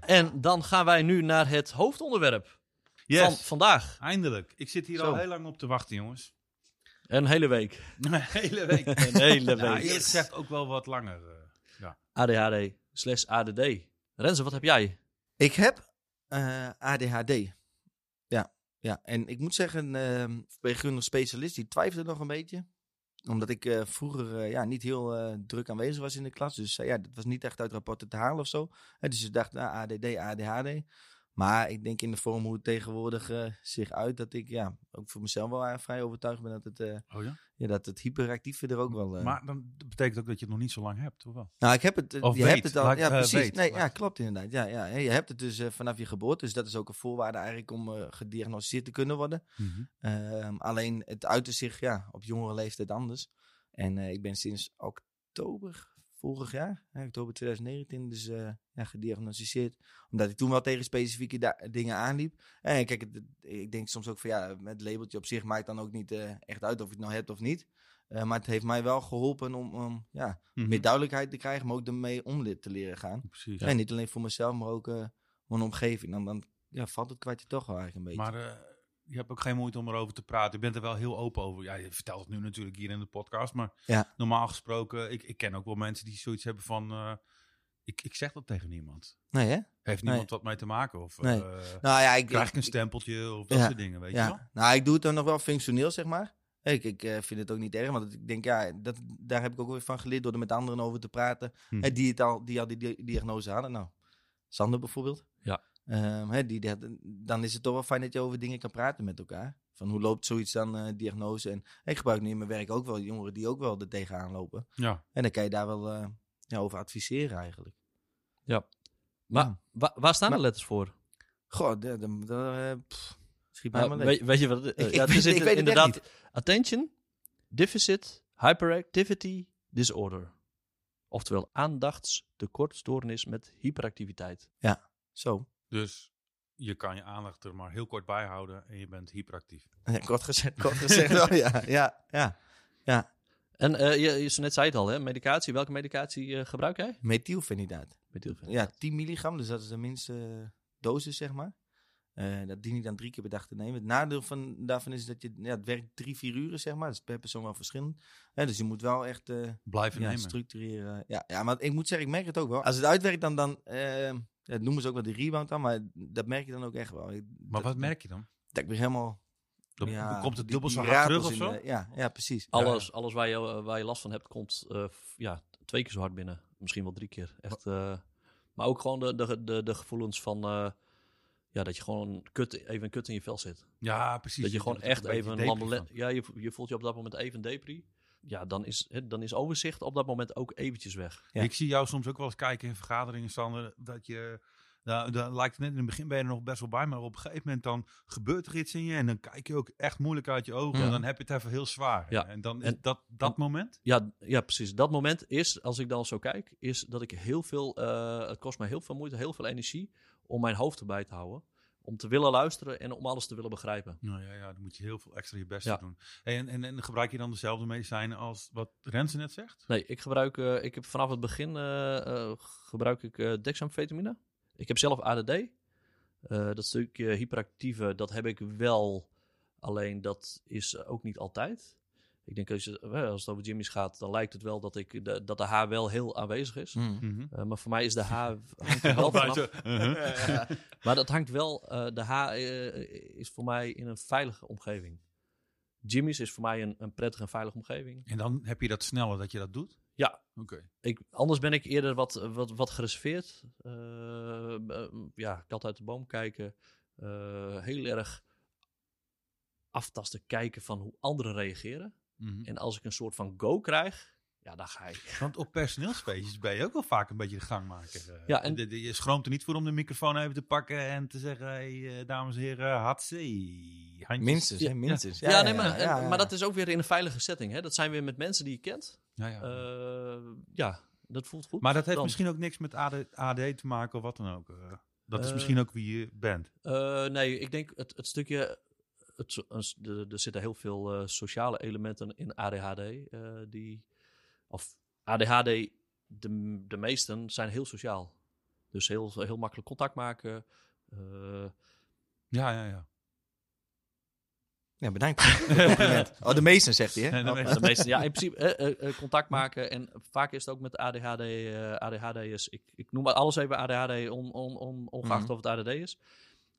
Speaker 1: en dan gaan wij nu naar het hoofdonderwerp
Speaker 3: Yes.
Speaker 1: van vandaag.
Speaker 3: Eindelijk. Ik zit hier
Speaker 1: Zo.
Speaker 3: al heel lang op te wachten,
Speaker 2: *laughs*
Speaker 3: jongens.
Speaker 1: Een hele week.
Speaker 3: Een hele week.
Speaker 1: Een hele
Speaker 3: Ja,
Speaker 1: week.
Speaker 3: eerlijk gezegd ook wel wat langer. eh.
Speaker 1: ADHD slash ADD. Renze, wat heb jij?
Speaker 2: Ik heb eh, ADHD. Ja, ja, en ik moet zeggen, eh, bij Gunnar Specialist, die twijfelde nog een beetje. Omdat ik eh, vroeger eh, ja, niet heel eh, druk aanwezig was in de klas. Dus eh, ja, dat was niet echt uit rapporten te halen of zo. Hè, dus ik dacht, nou, ADD, ADHD. Maar ik denk in de vorm hoe het tegenwoordig eh, zich uit, dat ik ja, ook voor mezelf wel eh, vrij overtuigd ben dat het, eh,
Speaker 3: Oh ja?
Speaker 2: ja, dat het hyperactieve er ook wel... eh,
Speaker 3: Maar dan dat betekent ook dat je het nog niet zo lang hebt, of wel?
Speaker 2: nou, ik heb het. eh,
Speaker 3: Of
Speaker 2: je
Speaker 3: weet,
Speaker 2: hebt het al.
Speaker 3: laat ik,
Speaker 2: ja,
Speaker 3: eh,
Speaker 2: precies.
Speaker 3: weet,
Speaker 2: nee,
Speaker 3: laat
Speaker 2: ja,
Speaker 3: ik-
Speaker 2: klopt inderdaad. Ja, ja. Je hebt het dus eh, vanaf je geboorte. Dus dat is ook een voorwaarde eigenlijk om eh, gediagnosticeerd te kunnen worden.
Speaker 3: Mhm.
Speaker 2: Ehm, alleen het uitte zich ja, op jongere leeftijd anders. En eh, ik ben sinds oktober vorig jaar, hè, oktober 2019, dus eh, ja, gediagnosticeerd. Omdat ik toen wel tegen specifieke da- dingen aanliep. En eh, kijk, het- het- ik denk soms ook van ja, het labeltje op zich maakt dan ook niet eh, echt uit of je het nou hebt of niet. Eh, maar het heeft mij wel geholpen om, om ja,
Speaker 3: Mhm.
Speaker 2: meer duidelijkheid te krijgen, maar ook ermee om dit te leren gaan.
Speaker 3: Precies.
Speaker 2: En niet alleen voor mezelf, maar ook eh, voor mijn omgeving. Dan, dan ja, valt het kwartje toch wel eigenlijk een beetje.
Speaker 3: Maar eh, je hebt ook geen moeite om erover te praten. Je bent er wel heel open over. Ja, je vertelt het nu natuurlijk hier in de podcast. Maar
Speaker 2: Ja.
Speaker 3: normaal gesproken, ik, ik ken ook wel mensen die zoiets hebben van... eh, ik, ik zeg dat tegen niemand.
Speaker 2: nee, hè?
Speaker 3: Heeft
Speaker 2: Nee.
Speaker 3: niemand wat mee te maken? Of eh,
Speaker 2: Nee. Nou ja, ik
Speaker 3: krijg ik een
Speaker 2: ik-
Speaker 3: stempeltje? Of dat
Speaker 2: Ja.
Speaker 3: soort dingen, weet je wel?
Speaker 2: ja. Nou, ik doe het dan nog wel functioneel, zeg maar. Ik, ik eh, vind het ook niet erg, want ik denk, ja, dat, daar heb ik ook weer van geleerd door er met anderen over te praten.
Speaker 3: Hm.
Speaker 2: Hè, die, het al, die al die di- diagnose hadden. Nou, Sander bijvoorbeeld.
Speaker 1: Ja.
Speaker 2: Ehm, hè, die, dat- dan is het toch wel fijn dat je over dingen kan praten met elkaar. Van hoe loopt zoiets dan, eh, diagnose? En ik gebruik nu in mijn werk ook wel jongeren die ook wel er tegenaan lopen.
Speaker 3: Ja.
Speaker 2: En dan kan je daar wel eh, ja, over adviseren eigenlijk.
Speaker 1: Maar Nou,
Speaker 2: Ja.
Speaker 1: wa- waar staan
Speaker 2: Maar-
Speaker 1: de letters voor?
Speaker 2: Goh, dat, dat, dat, eh, pff, schiet mij
Speaker 1: Nou,
Speaker 2: maar leeg.
Speaker 1: weet, weet je wat? het- eh,
Speaker 2: *laughs* Ik-
Speaker 1: ja,
Speaker 2: ik
Speaker 1: het is
Speaker 2: weet- ik
Speaker 1: in-
Speaker 2: weet het echt
Speaker 1: inderdaad attention, deficit, hyperactivity, disorder. Oftewel aandachtstekortstoornis met hyperactiviteit.
Speaker 2: Zo,
Speaker 3: Dus je kan je aandacht er maar heel kort bij houden. En je bent hyperactief.
Speaker 2: Ja, kort
Speaker 3: *laughs*
Speaker 2: gezegd, kort gezegd
Speaker 3: Oh,
Speaker 2: wel, ja. ja, ja.
Speaker 1: En eh, je, je, zo net zei het al, hè? medicatie. Welke medicatie eh, gebruik jij?
Speaker 2: Methylfenidaat.
Speaker 1: Methylfenidaat.
Speaker 2: Ja, 10 milligram, dus dat is de minste eh, dosis, zeg maar. Eh, dat dien ik dan drie keer per dag te nemen. Het nadeel van, daarvan is dat je, ja, het werkt drie, vier uren, zeg maar. Dat is per persoon wel verschillend. Hè, dus je moet wel echt eh,
Speaker 3: Blijven
Speaker 2: ja,
Speaker 3: nemen.
Speaker 2: structureren. Ja, ja, maar ik moet zeggen, ik merk het ook wel. Als het uitwerkt, dan, dan eh, ja, dat noemen ze ook wel de rebound aan, maar dat merk je dan ook echt wel. Ik- dat-
Speaker 3: Maar wat merk je dan?
Speaker 2: Dat ik weer helemaal
Speaker 3: Dan
Speaker 2: Ja,
Speaker 3: komt het
Speaker 2: die-
Speaker 3: dubbel zo
Speaker 2: die
Speaker 3: hard terug
Speaker 2: ratels
Speaker 3: of
Speaker 2: in
Speaker 3: zo?
Speaker 2: de- ja, ja, precies.
Speaker 1: Alles, alles waar, je, eh, waar je last van hebt, komt eh, f- ja, twee keer zo hard binnen. Misschien wel drie keer. Echt, eh, maar ook gewoon de, de, de, de gevoelens van eh, ja, dat je gewoon kut, even kut in je vel zit.
Speaker 3: Ja, precies.
Speaker 1: dat je
Speaker 3: Je
Speaker 1: gewoon
Speaker 3: wordt er
Speaker 1: echt
Speaker 3: een beetje
Speaker 1: even een
Speaker 3: depri
Speaker 1: lambelet-
Speaker 3: van.
Speaker 1: Ja, je, vo- je voelt je op dat moment even depri. Ja, dan is, hè, dan is overzicht op dat moment ook eventjes weg.
Speaker 2: Ja.
Speaker 3: Ik zie jou soms ook wel eens kijken in vergaderingen, Sander, dat je... Nou, dan lijkt het net in het begin ben je er nog best wel bij, maar op een gegeven moment dan gebeurt er iets in je en dan kijk je ook echt moeilijk uit je ogen
Speaker 2: Ja.
Speaker 3: en dan heb je het even heel zwaar.
Speaker 1: Ja.
Speaker 3: En dan is
Speaker 1: En-
Speaker 3: dat, dat
Speaker 1: en-
Speaker 3: moment?
Speaker 1: Ja, ja, precies. Dat moment is, als ik dan zo kijk, is dat ik heel veel... eh, het kost me heel veel moeite, heel veel energie om mijn hoofd erbij te houden. om te willen luisteren en om alles te willen begrijpen.
Speaker 3: Nou ja, ja, dan moet je heel veel extra je best
Speaker 1: Ja.
Speaker 3: voor doen. Hey, en, en, en gebruik je dan dezelfde medicijnen als wat Rensen net zegt?
Speaker 1: Nee, ik gebruik, eh, ik heb vanaf het begin eh, eh, gebruik ik eh, dexamfetamine. Ik heb zelf ADD. Eh, dat stukje hyperactieve, dat heb ik wel. Alleen dat is ook niet altijd. Ik denk als, je, eh, als het over Jimmy's gaat, dan lijkt het wel dat, ik, de, dat de H wel heel aanwezig is.
Speaker 2: Mm.
Speaker 1: Eh, maar voor mij is de H hangt er wel vanaf.
Speaker 3: Uh-huh.
Speaker 1: Maar dat hangt wel, eh, de H eh, is voor mij in een veilige omgeving. Jimmy's is voor mij een, een prettige en veilige omgeving.
Speaker 3: En dan heb je dat sneller dat je dat doet?
Speaker 1: Ja.
Speaker 3: Oké.
Speaker 1: Ik, anders ben ik eerder wat, wat, wat gereserveerd. Eh, eh, ja, kat uit de boom kijken. Eh, heel erg aftasten, kijken van hoe anderen reageren.
Speaker 3: Mhm.
Speaker 1: En als ik een soort van go krijg, ja, dan ga ik.
Speaker 3: Want op personeelsfeestjes ben je ook wel vaak een beetje de gangmaker. eh.
Speaker 1: Ja, en-
Speaker 3: De- de- je schroomt er niet voor om de microfoon even te pakken en te zeggen... Hey, eh, dames en heren, hatsie. handjes."
Speaker 2: Minstens,
Speaker 1: Ja.
Speaker 2: hè, minstens.
Speaker 1: Ja, nee, maar, en- maar dat is ook weer in een veilige setting. Hè? Dat zijn weer met mensen die je kent.
Speaker 3: Ja, ja.
Speaker 1: Eh, ja, dat voelt goed.
Speaker 3: maar dat heeft
Speaker 1: dan-
Speaker 3: misschien ook niks met AD, AD te maken of wat dan ook. eh. dat is
Speaker 1: Eh.
Speaker 3: misschien ook wie je bent.
Speaker 1: Eh, nee, ik denk het, het stukje. Het, so- een s- de- er zitten heel veel eh, sociale elementen in ADHD. eh, die, of ADHD, de, m- de meesten zijn heel sociaal. Dus heel, heel makkelijk contact maken. eh,
Speaker 3: Ja, ja, ja.
Speaker 2: Ja, bedankt.
Speaker 1: *laughs*
Speaker 3: *laughs*
Speaker 2: Compliment. Oh, de meesten zegt hij, hè?
Speaker 3: En dan ben je-
Speaker 1: de meesten, ja, in principe eh, eh, eh, contact maken. En vaak is het ook met ADHD. eh ADHD'ers. Ik, ik noem maar alles even ADHD, on, on, on, ongeacht
Speaker 2: Mhm.
Speaker 1: of het ADD is.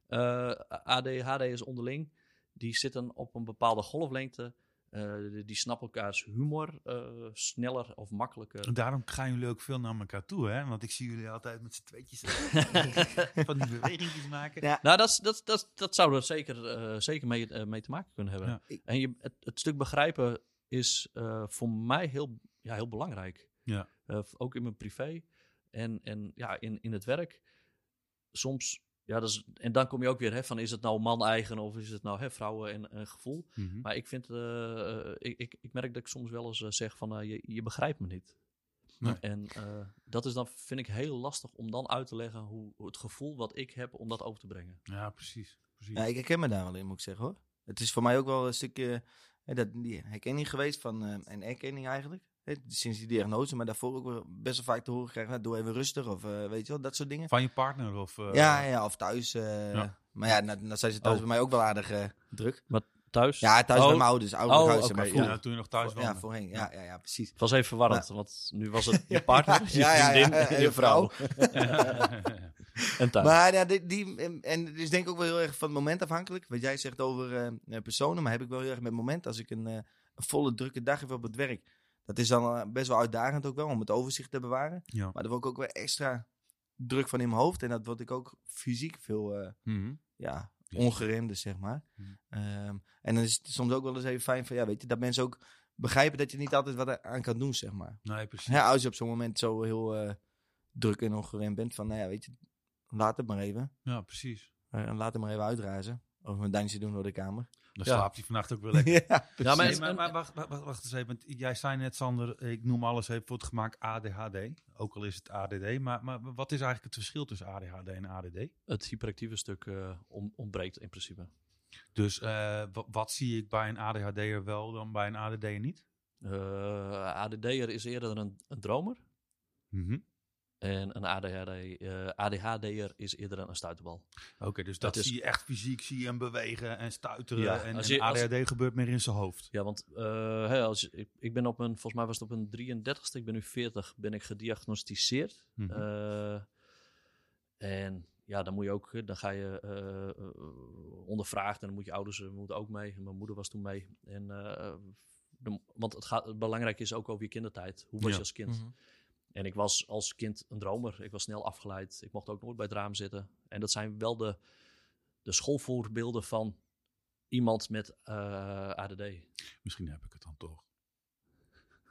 Speaker 1: Eh ADHD'ers onderling, die zitten op een bepaalde golflengte. Eh, die, die snappen elkaars humor eh, sneller of makkelijker.
Speaker 3: En daarom gaan jullie ook veel naar elkaar toe, hè? Want ik zie jullie altijd met z'n
Speaker 2: *laughs*
Speaker 3: tweetjes van die bewegingjes maken.
Speaker 2: Ja.
Speaker 1: Nou, dat, is- dat, dat, dat zou er zeker, eh, zeker mee, eh, mee te maken kunnen hebben.
Speaker 3: Ja.
Speaker 1: En je, het, het stuk begrijpen is eh, voor mij heel, ja, heel belangrijk.
Speaker 3: Ja.
Speaker 1: Eh, ook in mijn privé en, en ja, in, in het werk. Soms, ja, dat is, en dan kom je ook weer hè, van is het nou man-eigen of is het nou hè, vrouwen en een gevoel.
Speaker 3: Mhm.
Speaker 1: Maar ik vind, eh, eh, ik, ik, ik merk dat ik soms wel eens eh, zeg van eh, je, je begrijpt me niet.
Speaker 3: Nee.
Speaker 1: En eh, dat is dan, vind ik, heel lastig om dan uit te leggen hoe, hoe het gevoel wat ik heb om dat over te brengen.
Speaker 3: Ja, precies. precies.
Speaker 2: *laughs* Ja, ik herken me daar wel in, moet ik zeggen hoor. Het is voor mij ook wel een stukje hè, dat, die herkenning geweest van, eh, en erkenning eigenlijk. Hè, sinds die diagnose, maar daarvoor ook wel best wel vaak te horen krijgen, nou, doe even rustig of eh, weet je wel, dat soort dingen.
Speaker 3: Van je partner of... eh,
Speaker 2: ja, ja, of thuis. eh,
Speaker 3: Ja.
Speaker 2: Maar ja, nou, nou zijn ze thuis
Speaker 1: Oh.
Speaker 2: bij mij ook wel aardig eh, druk.
Speaker 1: Thuis?
Speaker 2: Ja, thuis
Speaker 1: Oh,
Speaker 2: bij mijn ouders, oude
Speaker 1: Oh,
Speaker 2: huis,
Speaker 1: oké,
Speaker 2: maar
Speaker 1: ja.
Speaker 2: vroeger.
Speaker 3: ja, toen je nog thuis
Speaker 2: Voor-
Speaker 3: woonde.
Speaker 2: ja, voorheen. Ja, ja, ja, precies.
Speaker 1: Het was even verwarrend, want nu was
Speaker 2: *laughs*
Speaker 1: het je partner, je
Speaker 2: Ja, ja, ja,
Speaker 1: vriendin
Speaker 2: ja,
Speaker 1: en
Speaker 2: en
Speaker 1: je
Speaker 2: je vrouw.
Speaker 1: vrouw. En thuis.
Speaker 2: Maar ja, die, die- en- en het is denk ik ook wel heel erg van het moment afhankelijk. Wat jij zegt over eh, eh, personen, maar heb ik wel heel erg met het moment. Als ik een, eh, een volle, drukke dag heb op het werk. Dat is dan eh, best wel uitdagend ook wel, om het overzicht te bewaren.
Speaker 3: *laughs* ja.
Speaker 2: Maar daar word ik ook wel extra druk van in mijn hoofd. En dat word ik ook fysiek veel eh,
Speaker 3: Mhm.
Speaker 2: ja,
Speaker 3: Ja.
Speaker 2: ongeremde, zeg maar.
Speaker 3: Hmm.
Speaker 2: Ehm, en dan is het soms ook wel eens even fijn van, ja, weet je, dat mensen ook begrijpen dat je niet altijd wat aan kan doen, zeg maar.
Speaker 3: Nee, precies.
Speaker 2: Ja, als je op zo'n moment zo heel eh, druk en ongeremd bent, van, nou ja, weet je, laat het maar even.
Speaker 3: Ja, precies.
Speaker 2: Eh, laat hem maar even uitrazen. Of een dansje doen door de kamer.
Speaker 3: Dan
Speaker 1: Ja.
Speaker 3: slaapt hij vannacht ook wel
Speaker 2: *laughs*
Speaker 3: lekker.
Speaker 1: ja, maar,
Speaker 3: Nee, maar, maar wacht, wacht, wacht- wacht eens even. want Jij zei net, Sander, ik noem alles even voor het gemaakt ADHD. Ook al is het ADD. Maar, maar wat is eigenlijk het verschil tussen ADHD en ADD?
Speaker 1: het hyperactieve stuk eh, on- ontbreekt in principe.
Speaker 3: Dus eh, wa- wat zie ik bij een ADHD'er wel dan bij een ADD'er niet?
Speaker 1: Eh ADD'er is eerder een, een dromer
Speaker 3: Mhm.
Speaker 1: en een ADHD, eh, ADHD'er is eerder een stuiterbal.
Speaker 3: Oké, dus dat
Speaker 1: is-
Speaker 3: zie je echt fysiek, zie je hem bewegen en stuiteren.
Speaker 1: Ja,
Speaker 3: en
Speaker 1: als
Speaker 3: en
Speaker 1: je- als-
Speaker 3: ADHD gebeurt meer in zijn hoofd.
Speaker 1: Ja, want eh, hè, als, je- ik, ik ben op een, volgens mij was het op een 33ste, ik ben nu 40, ben ik gediagnosticeerd.
Speaker 3: Mhm.
Speaker 1: Eh, en ja, dan moet je ook, eh, dan ga je eh, eh, ondervraagd en dan moet je ouders eh, moeten ook mee. En Mijn moeder was toen mee. En, eh, dan- want het gaat, belangrijk is ook over je kindertijd. Hoe was
Speaker 3: Ja. Mhm.
Speaker 1: je als kind?
Speaker 2: Mhm.
Speaker 1: En ik was als kind een dromer. Ik was snel afgeleid. Ik mocht ook nooit bij het raam zitten. En dat zijn wel de, de schoolvoorbeelden van iemand met eh, ADD.
Speaker 3: Misschien heb ik het dan toch.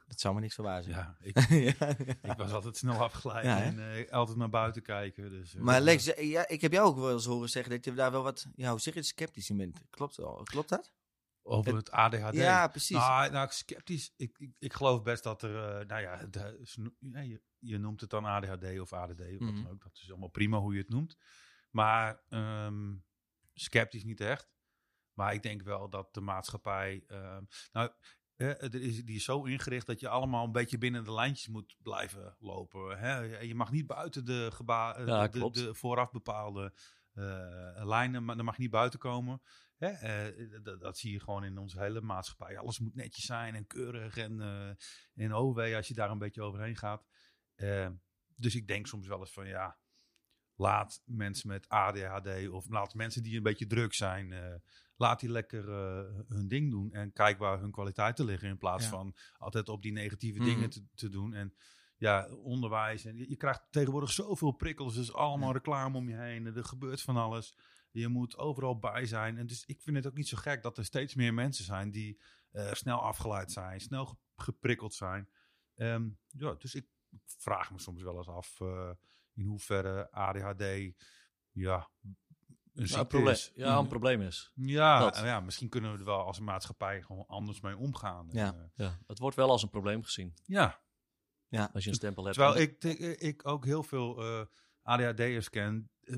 Speaker 2: Dat zou me niks verbazen.
Speaker 3: Ja, *laughs* ik,
Speaker 2: *laughs* Ja.
Speaker 3: ik was altijd snel afgeleid
Speaker 2: Ja, hè?
Speaker 3: en eh, altijd naar buiten kijken. Dus, eh,
Speaker 2: *laughs* Maar Lex, eh, ja, ik heb jou ook wel eens horen zeggen dat je daar wel wat, ja, hoe zeg je, het, sceptisch in bent. Klopt, wel- klopt dat?
Speaker 3: Over het ADHD.
Speaker 2: Ja, precies.
Speaker 3: Nou, nou, ik sceptisch. Ik, ik, ik geloof best dat er, eh, nou ja, de- sno- nee, je, je noemt het dan ADHD of ADD, of wat
Speaker 2: Mhm.
Speaker 3: dan ook. Dat is allemaal prima hoe je het noemt. Maar ehm, sceptisch niet echt. Maar ik denk wel dat de maatschappij. ehm, nou, eh, er is, die is zo ingericht dat je allemaal een beetje binnen de lijntjes moet blijven lopen. Hè? Je mag niet buiten de, geba- eh,
Speaker 1: Ja,
Speaker 3: de,
Speaker 1: klopt.
Speaker 3: de vooraf bepaalde eh, lijnen, maar daar mag je niet buiten komen. Hè? Eh, dat, dat zie je gewoon in onze hele maatschappij. Alles moet netjes zijn en keurig en, eh en oh wee als je daar een beetje overheen gaat. Eh, dus ik denk soms wel eens van ja, laat mensen met ADHD of laat mensen die een beetje druk zijn, eh, laat die lekker eh, hun ding doen en kijk waar hun kwaliteiten liggen in plaats
Speaker 2: Ja.
Speaker 3: van altijd op die negatieve
Speaker 2: Mhm.
Speaker 3: dingen te, te doen. En ja, onderwijs en je, je krijgt tegenwoordig zoveel prikkels, dus allemaal reclame om je heen, en er gebeurt van alles. Je moet overal bij zijn. En dus ik vind het ook niet zo gek dat er steeds meer mensen zijn die eh, snel afgeleid zijn, snel ge- geprikkeld zijn. Ehm, ja, dus ik vraag me soms wel eens af eh, in hoeverre ADHD ja, een
Speaker 1: Ja, een
Speaker 3: ziekte
Speaker 1: probleem,
Speaker 3: is. Mm.
Speaker 1: ja, een probleem is.
Speaker 3: Ja,
Speaker 1: Dat.
Speaker 3: ja, misschien kunnen we er wel als maatschappij gewoon anders mee omgaan. En,
Speaker 2: Ja.
Speaker 3: eh,
Speaker 1: Ja, het wordt wel als een probleem gezien
Speaker 3: ja.
Speaker 1: als je een stempel hebt.
Speaker 3: terwijl ik, denk, eh, ik ook heel veel eh, ADHD'ers ken eh,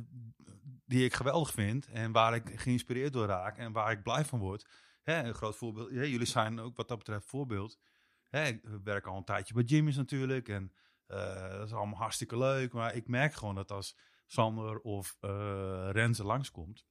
Speaker 3: die ik geweldig vind en waar ik geïnspireerd door raak en waar ik blij van word. Hè, een groot voorbeeld. Ja, jullie zijn ook wat dat betreft voorbeeld. Hè, ik werk al een tijdje bij Jimmy's natuurlijk en eh, dat is allemaal hartstikke leuk. Maar ik merk gewoon dat als Sander of eh Renze langskomt,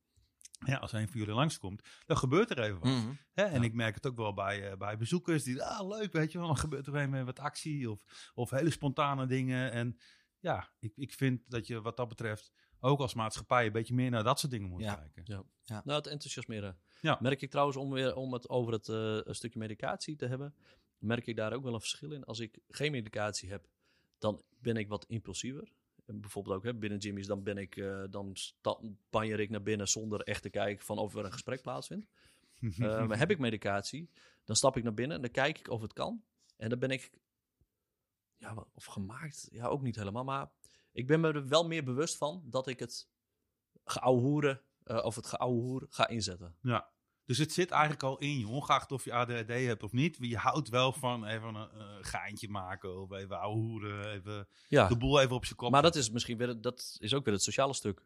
Speaker 3: ja, als een van jullie langskomt, dan gebeurt er even wat.
Speaker 2: Mhm.
Speaker 3: Hè, en
Speaker 1: Ja.
Speaker 3: ik merk het ook wel bij, eh, bij bezoekers die, ah leuk, weet je wel, dan gebeurt er weer wat actie of, of hele spontane dingen. En ja, ik, ik vind dat je wat dat betreft ook als maatschappij een beetje meer naar dat soort dingen moet
Speaker 2: Ja.
Speaker 1: *laughs*
Speaker 3: kijken.
Speaker 1: Nou, het enthousiasmeren.
Speaker 3: Ja.
Speaker 1: Merk ik trouwens, om, weer, om het over het eh, stukje medicatie te hebben, merk ik daar ook wel een verschil in. Als ik geen medicatie heb, dan ben ik wat impulsiever. En bijvoorbeeld ook hè, binnen Jimmy's, dan, ben ik, eh, dan sta- banjer ik naar binnen zonder echt te kijken van of er een gesprek plaatsvindt. *laughs*
Speaker 3: Ehm,
Speaker 1: Eh, maar heb ik medicatie, dan stap ik naar binnen en dan kijk ik of het kan. En dan ben ik, ja, wa- of gemaakt, ja, ook niet helemaal. Maar ik ben me er wel meer bewust van dat ik het geouwehoeren, eh, of het geouwehoer ga inzetten.
Speaker 3: Dus het zit eigenlijk al in je, ongeacht of je ADHD hebt of niet. Je houdt wel van even een eh, geintje maken of even ouwe hoeren, even
Speaker 1: Ja,
Speaker 3: de boel even op zijn kop.
Speaker 1: maar dat is misschien weer, dat is ook weer het sociale *laughs* stuk.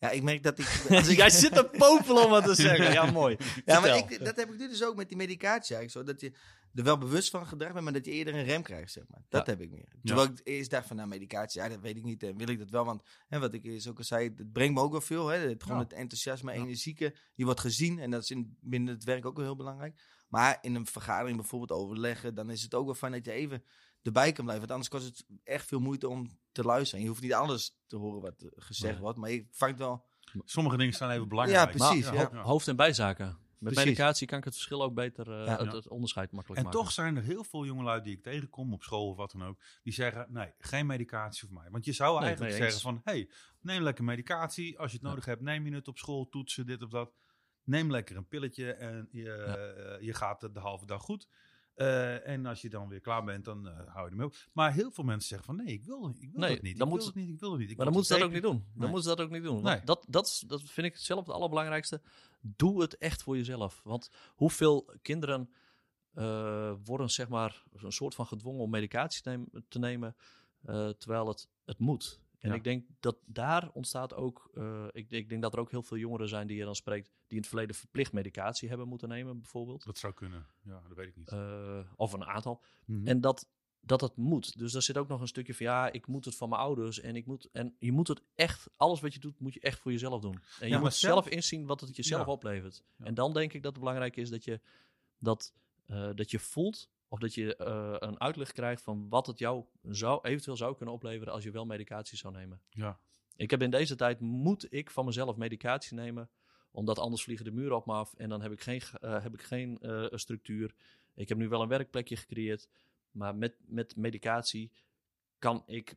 Speaker 2: Ja, ik
Speaker 1: *laughs*
Speaker 2: merk dat ik... Als ik
Speaker 1: zit te popelen om wat te zeggen. *laughs* Ja, mooi.
Speaker 2: ja, maar
Speaker 1: Vertel.
Speaker 2: ik, dat heb ik nu dus ook met die medicatie eigenlijk zo. Dat je er wel bewust van gedrag bent, maar dat je eerder een rem krijgt, zeg maar. Dat
Speaker 1: Ja.
Speaker 2: heb ik meer. Terwijl ik eerst dacht van, nou, medicatie, ja, dat weet ik niet. En wil ik dat wel, want hè, wat ik eerst ook al zei, het brengt me ook wel veel. Hè, het, gewoon
Speaker 3: Ja.
Speaker 2: het enthousiasme,
Speaker 3: Ja.
Speaker 2: energieke. Je wordt gezien en dat is in, binnen het werk ook wel heel belangrijk. Maar in een vergadering bijvoorbeeld overleggen, dan is het ook wel fijn dat je even erbij kan blijven. Want anders kost het echt veel moeite om te luisteren. Je hoeft niet alles te horen wat eh, gezegd
Speaker 1: Nee.
Speaker 2: wordt, maar je vangt wel...
Speaker 3: Sommige dingen zijn even belangrijk.
Speaker 2: Ja, precies,
Speaker 3: Maar-
Speaker 2: ja.
Speaker 3: ja.
Speaker 1: Hoofd- en bijzaken. Met
Speaker 2: Precies.
Speaker 1: medicatie kan ik het verschil ook beter, eh,
Speaker 2: Ja.
Speaker 1: het, het onderscheid makkelijk
Speaker 3: En
Speaker 1: maken.
Speaker 3: toch zijn er heel veel jongelui die ik tegenkom op school of wat dan ook, die zeggen: nee, geen medicatie voor mij. Want je zou
Speaker 1: Nee,
Speaker 3: eigenlijk
Speaker 1: mee
Speaker 3: zeggen:
Speaker 1: eens.
Speaker 3: van, hey, neem lekker medicatie. Als je het
Speaker 1: Ja.
Speaker 3: nodig hebt, neem je het op school, toetsen, dit of dat. Neem lekker een pilletje en je, eh, je gaat de halve dag goed. Eh, en als je dan weer klaar bent, dan eh, hou je ermee op. Maar heel veel mensen zeggen van nee, ik wil, ik wil
Speaker 1: Nee,
Speaker 3: het niet.
Speaker 1: dan
Speaker 3: ik wil
Speaker 1: moeten-
Speaker 3: het niet, ik wil het niet. Ik
Speaker 1: Maar dan
Speaker 3: wil
Speaker 1: moeten ze dat ook
Speaker 3: het
Speaker 1: niet doen. Dan
Speaker 2: Nee.
Speaker 1: moeten ze dat ook niet doen. Want
Speaker 3: Nee.
Speaker 1: dat, dat, is- dat vind ik zelf het allerbelangrijkste. Doe het echt voor jezelf. Want hoeveel kinderen eh, worden zeg maar een soort van gedwongen om medicatie te nemen, te nemen eh, terwijl het, het moet. En
Speaker 3: Ja.
Speaker 1: ik denk dat daar ontstaat ook, eh, ik, ik denk dat er ook heel veel jongeren zijn die je dan spreekt, die in het verleden verplicht medicatie hebben moeten nemen bijvoorbeeld.
Speaker 3: Dat zou kunnen. Ja, dat weet ik niet.
Speaker 1: Eh, of een aantal.
Speaker 3: Mhm.
Speaker 1: En dat, dat het moet. Dus daar zit ook nog een stukje van ja, ik moet het van mijn ouders. En, ik moet, en je moet het echt, alles wat je doet, moet je echt voor jezelf doen. En je
Speaker 3: maar
Speaker 1: moet
Speaker 3: zelf-
Speaker 1: zelf inzien wat het jezelf
Speaker 3: Ja.
Speaker 1: oplevert.
Speaker 3: Ja.
Speaker 1: En dan denk ik dat het belangrijk is dat je, dat, eh, dat je voelt of dat je eh, een uitleg krijgt van wat het jou zou, eventueel zou kunnen opleveren als je wel medicatie zou nemen.
Speaker 3: ja.
Speaker 1: Ik heb in deze tijd, moet ik van mezelf medicatie nemen, omdat anders vliegen de muren op me af en dan heb ik geen, ge- eh, heb ik geen eh, structuur. Ik heb nu wel een werkplekje gecreëerd, maar met, met medicatie kan ik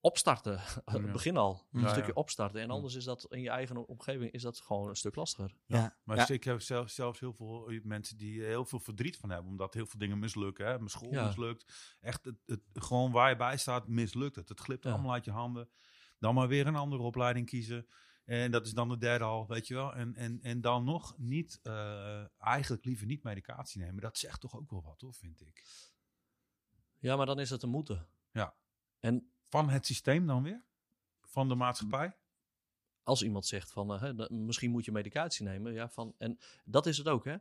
Speaker 1: opstarten, *laughs*
Speaker 3: Ja.
Speaker 1: begin al. Een
Speaker 3: Ja,
Speaker 1: stukje
Speaker 3: ja.
Speaker 1: opstarten. En
Speaker 3: Ja.
Speaker 1: anders is dat in je eigen omgeving is dat gewoon een stuk lastiger.
Speaker 3: Maar dus
Speaker 2: Ja.
Speaker 3: ik heb zelf, zelfs heel veel eh, mensen die heel veel verdriet van hebben. Omdat heel veel dingen mislukken. Hè? Mijn school
Speaker 1: Ja.
Speaker 3: mislukt. Echt, het, het, gewoon waar je bij staat, mislukt het. Het glipt
Speaker 1: Ja.
Speaker 3: allemaal uit je handen. Dan maar weer een andere opleiding kiezen. En dat is dan de derde al, weet je wel. En, en, en dan nog niet, eh, eigenlijk liever niet medicatie nemen. Dat zegt toch ook wel wat, hoor, vind ik.
Speaker 1: Ja, maar dan is het een moeten.
Speaker 3: Ja.
Speaker 1: En
Speaker 3: Van het systeem dan weer? Van de maatschappij?
Speaker 1: als iemand zegt van eh, hè, d- misschien moet je medicatie nemen. Ja, van, en dat is het ook, hè?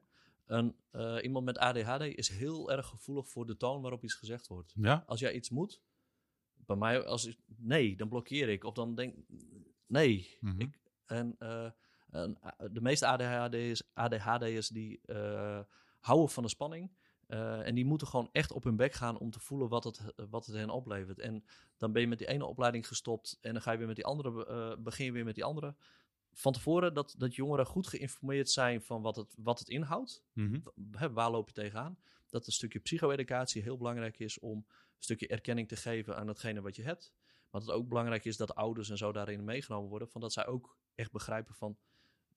Speaker 1: Een, eh, iemand met ADHD is heel erg gevoelig voor de toon waarop iets gezegd wordt.
Speaker 3: Ja?
Speaker 1: Als jij iets moet, bij mij, als ik- nee, dan blokkeer ik. Of dan denk nee.
Speaker 3: Mhm.
Speaker 1: Ik, en, eh, en, eh, de meeste ADHD'ers, ADHD'ers die eh, houden van de spanning. eh, en die moeten gewoon echt op hun bek gaan om te voelen wat het, wat het hen oplevert. En dan ben je met die ene opleiding gestopt en dan ga je weer met die andere, eh, begin je weer met die andere. Van tevoren dat, dat jongeren goed geïnformeerd zijn van wat het, wat het inhoudt
Speaker 3: Mhm.
Speaker 1: hè, waar loop je tegenaan? Dat een stukje psycho-educatie heel belangrijk is om een stukje erkenning te geven aan datgene wat je hebt. Maar dat het ook belangrijk is dat ouders en zo daarin meegenomen worden, van dat zij ook echt begrijpen van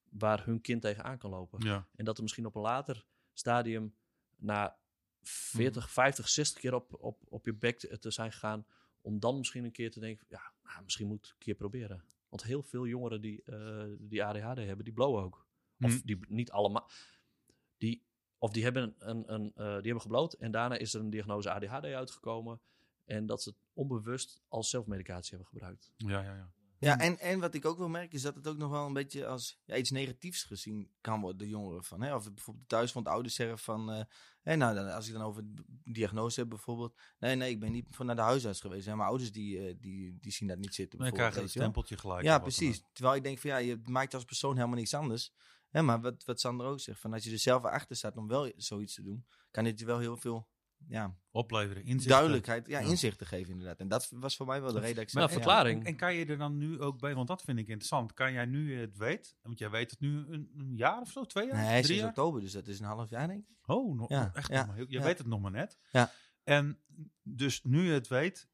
Speaker 1: waar hun kind tegenaan kan lopen.
Speaker 3: Ja.
Speaker 1: En dat er misschien op een later stadium, na 40, 50, 60 keer op, op, op je bek te, te zijn gegaan, om dan misschien een keer te denken, ja, nou, misschien moet ik een keer proberen. Want heel veel jongeren die, eh, die ADHD hebben, die blowen ook. Of
Speaker 3: Mm.
Speaker 1: die b- niet allemaal. Die, of die hebben, een, een, eh, die hebben gebloot en daarna is er een diagnose ADHD uitgekomen. En dat ze het onbewust als zelfmedicatie hebben gebruikt.
Speaker 3: Ja, ja, ja.
Speaker 2: Ja, en, en wat ik ook wel merk is dat het ook nog wel een beetje als ja, iets negatiefs gezien kan worden, de jongeren van. Hè? Of het bijvoorbeeld thuis van de ouders zeggen van, eh, hè, nou, dan, als ik dan over de diagnose heb bijvoorbeeld. Nee, nee, ik ben niet van naar de huisarts geweest. Hè? Mijn ouders die, eh, die, die zien dat niet zitten.
Speaker 3: Dan
Speaker 2: bijvoorbeeld,
Speaker 3: krijg je een
Speaker 2: weet je wel.
Speaker 3: stempeltje gelijk.
Speaker 2: Ja,
Speaker 3: of wat dan
Speaker 2: precies. Terwijl ik denk van ja, je maakt als persoon helemaal niks anders. Hè, maar wat, wat Sander ook zegt, van als je er zelf achter staat om wel zoiets te doen, kan dit je wel heel veel ja,
Speaker 3: ook. Opleveren, inzichten.
Speaker 2: duidelijkheid, ja,
Speaker 3: Ja.
Speaker 2: inzichten geven inderdaad. En dat was voor mij wel de reden dat ik
Speaker 1: Maar
Speaker 2: zei,
Speaker 1: een
Speaker 2: ja,
Speaker 1: verklaring.
Speaker 3: En, en kan je er dan nu ook bij, want dat vind ik interessant. Kan jij nu je het weet, want jij weet het nu een, een jaar of zo, twee jaar,
Speaker 2: Nee, hij is
Speaker 3: drie
Speaker 2: sinds
Speaker 3: jaar?
Speaker 2: oktober, dus dat is een half jaar denk ik.
Speaker 3: Oh, nog,
Speaker 2: Ja,
Speaker 3: echt
Speaker 2: ja,
Speaker 3: nog maar heel- je
Speaker 2: ja.
Speaker 3: weet het nog maar net.
Speaker 2: Ja.
Speaker 3: En dus nu je het weet,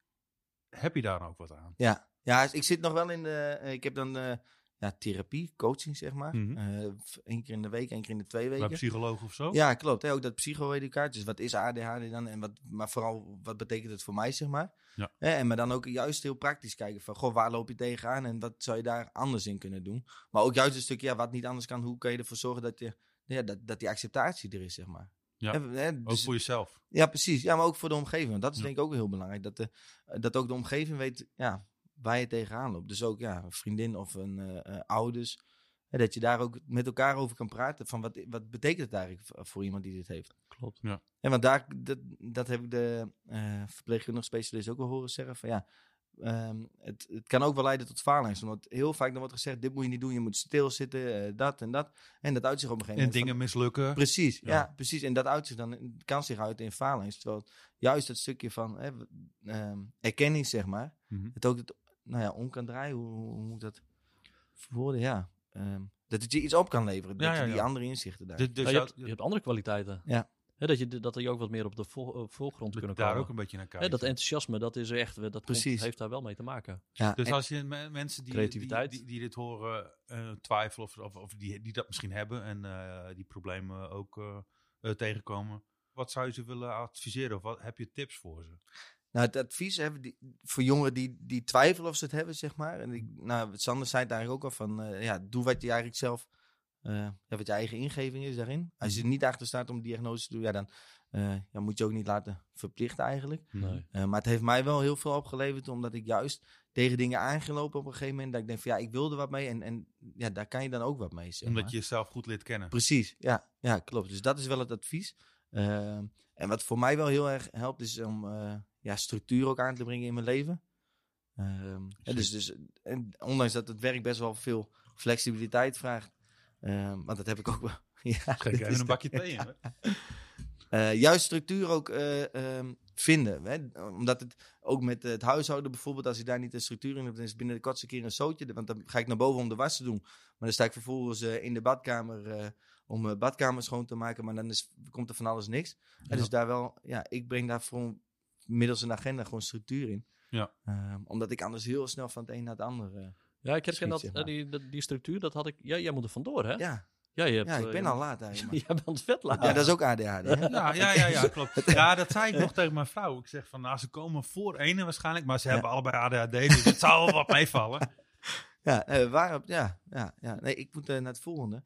Speaker 3: heb je daar ook wat aan.
Speaker 2: Ja, ja ik zit nog wel in de, eh, ik heb dan eh, ja, therapie, coaching zeg maar.
Speaker 3: Mhm.
Speaker 2: Eh, v- één keer in de week, één keer in de twee
Speaker 3: Bij
Speaker 2: weken.
Speaker 3: psycholoog of zo?
Speaker 2: Ja, klopt. Hè? Ook dat psycho-educatie. Dus wat is ADHD dan? En wat, maar vooral, wat betekent het voor mij, zeg maar?
Speaker 3: Ja.
Speaker 2: Hè, en maar dan ook juist heel praktisch kijken van... Goh, waar loop je tegenaan en wat zou je daar anders in kunnen doen? Maar ook juist een stukje, ja, wat niet anders kan... hoe kun je ervoor zorgen dat, je, ja, dat, dat die acceptatie er is, zeg maar?
Speaker 3: Ja.
Speaker 2: Hè, hè,
Speaker 3: Ook
Speaker 2: dus-
Speaker 3: voor jezelf.
Speaker 2: ja, precies. Ja, maar ook voor de omgeving. Want dat is
Speaker 3: Ja.
Speaker 2: denk ik ook heel belangrijk. Dat, de, eh, dat ook de omgeving weet ja, waar je tegenaan loopt. Dus ook ja, een vriendin of een eh, eh, ouders. En dat je daar ook met elkaar over kan praten. Van wat, wat betekent het eigenlijk v- voor iemand die dit heeft?
Speaker 1: Klopt.
Speaker 2: En want daar, dat, dat heb ik de eh verpleegkundige specialist ook wel horen zeggen. Van ja, ehm, het, het kan ook wel leiden tot faalangst. Omdat heel vaak dan wordt gezegd, dit moet je niet doen. Je moet stilzitten, eh, dat en dat. En dat uitzicht op een gegeven
Speaker 3: En
Speaker 2: moment. van-
Speaker 3: dingen mislukken.
Speaker 2: Precies, ja.
Speaker 3: Ja.
Speaker 2: precies. En dat uitzicht dan, kan zich uit in faalangst. Terwijl het juist dat stukje van hè, w- ehm, erkenning, zeg maar,
Speaker 3: Mhm.
Speaker 2: het ook dat, nou ja, om kan draaien, hoe, hoe hoe moet ik dat verwoorden? Ja, ehm, dat het je iets op kan leveren, dat
Speaker 3: Ja, ja,
Speaker 2: je die
Speaker 3: ja.
Speaker 2: andere inzichten daar.
Speaker 3: Dus, dus
Speaker 1: Nou, je,
Speaker 3: jou-
Speaker 1: hebt, je hebt andere kwaliteiten.
Speaker 2: Ja.
Speaker 1: Hè, dat, je, dat je ook wat meer op de vo- eh, voorgrond kunnen
Speaker 3: daar
Speaker 1: komen.
Speaker 3: ook een beetje naar
Speaker 1: Hè,
Speaker 3: kijken.
Speaker 1: dat enthousiasme, dat is er echt, eh, dat komt-
Speaker 2: Precies.
Speaker 1: heeft daar wel mee te maken.
Speaker 2: ja,
Speaker 3: dus
Speaker 2: en-
Speaker 3: als je me- mensen die, die,
Speaker 1: Creativiteit.
Speaker 3: die, die dit horen eh, twijfelen of, of, of die, die dat misschien hebben en eh, die problemen ook eh, eh, tegenkomen, wat zou je ze willen adviseren of wat, heb je tips voor ze?
Speaker 2: Nou, het advies hebben die, voor jongeren die, die twijfelen of ze het hebben, zeg maar. En ik, nou, wat Sander zei het eigenlijk ook al van, eh, ja, doe wat je eigenlijk zelf, eh, ja, wat je eigen ingeving is daarin. Als
Speaker 3: Mhm.
Speaker 2: je er niet achter staat om diagnose te doen, ja, dan eh, ja, moet je ook niet laten verplichten eigenlijk.
Speaker 1: Nee.
Speaker 2: Eh, maar het heeft mij wel heel veel opgeleverd, omdat ik juist tegen dingen aangelopen op een gegeven moment. Dat ik denk van, ja, ik wilde wat mee en, en ja, daar kan je dan ook wat mee, zeg maar.
Speaker 3: Omdat je jezelf goed leert
Speaker 2: *laughs*
Speaker 3: kennen.
Speaker 2: Precies, ja, ja, klopt. Dus dat is wel het advies. Ehm, en wat voor mij wel heel erg helpt, is om eh, ja, structuur ook aan te brengen in mijn leven. Ehm, en dus, dus, en ondanks dat het werk best wel veel flexibiliteit vraagt, ehm, want dat heb ik ook wel. *laughs* ja,
Speaker 3: Schenk
Speaker 2: dat
Speaker 3: even
Speaker 2: is
Speaker 3: een
Speaker 2: de-
Speaker 3: bakje thee in. hè?
Speaker 2: eh, juist structuur ook eh, ehm, vinden. Hè? Omdat het ook met eh, het huishouden bijvoorbeeld, als ik daar niet een structuur in heb, dan is het binnen de kortste keer een zootje. Want dan ga ik naar boven om de was te doen. Maar dan sta ik vervolgens eh, in de badkamer eh, om mijn badkamer schoon te maken. Maar dan is, komt er van alles niks. En
Speaker 3: Ja.
Speaker 2: dus daar wel, ja, ik breng daar gewoon middels een agenda gewoon structuur in.
Speaker 3: Ja.
Speaker 2: Ehm, omdat ik anders heel snel van het een naar het ander. eh,
Speaker 1: Ja, ik herken
Speaker 2: Schiet,
Speaker 1: dat,
Speaker 2: zeg
Speaker 1: eh,
Speaker 2: maar.
Speaker 1: die, dat- die structuur, dat had ik... Ja, jij moet er vandoor, hè?
Speaker 2: ja,
Speaker 1: Ja, je hebt,
Speaker 2: ja, ik
Speaker 1: eh,
Speaker 2: ben
Speaker 1: je-
Speaker 2: al laat eigenlijk.
Speaker 1: *laughs* Jij bent vet laat.
Speaker 2: Maar. Ja, dat is ook ADHD.
Speaker 3: *laughs*
Speaker 2: hè?
Speaker 3: Ja, Nou, ja, ja, ja, klopt. Ja, dat zei ik nog tegen mijn vrouw. Ik zeg van, nou, ze komen voor ene waarschijnlijk, maar ze
Speaker 2: Ja.
Speaker 3: hebben allebei ADHD, dus het zou wel wat meevallen.
Speaker 2: Ja, eh, waarop, ja, ja, ja. Nee, ik moet eh, naar het volgende.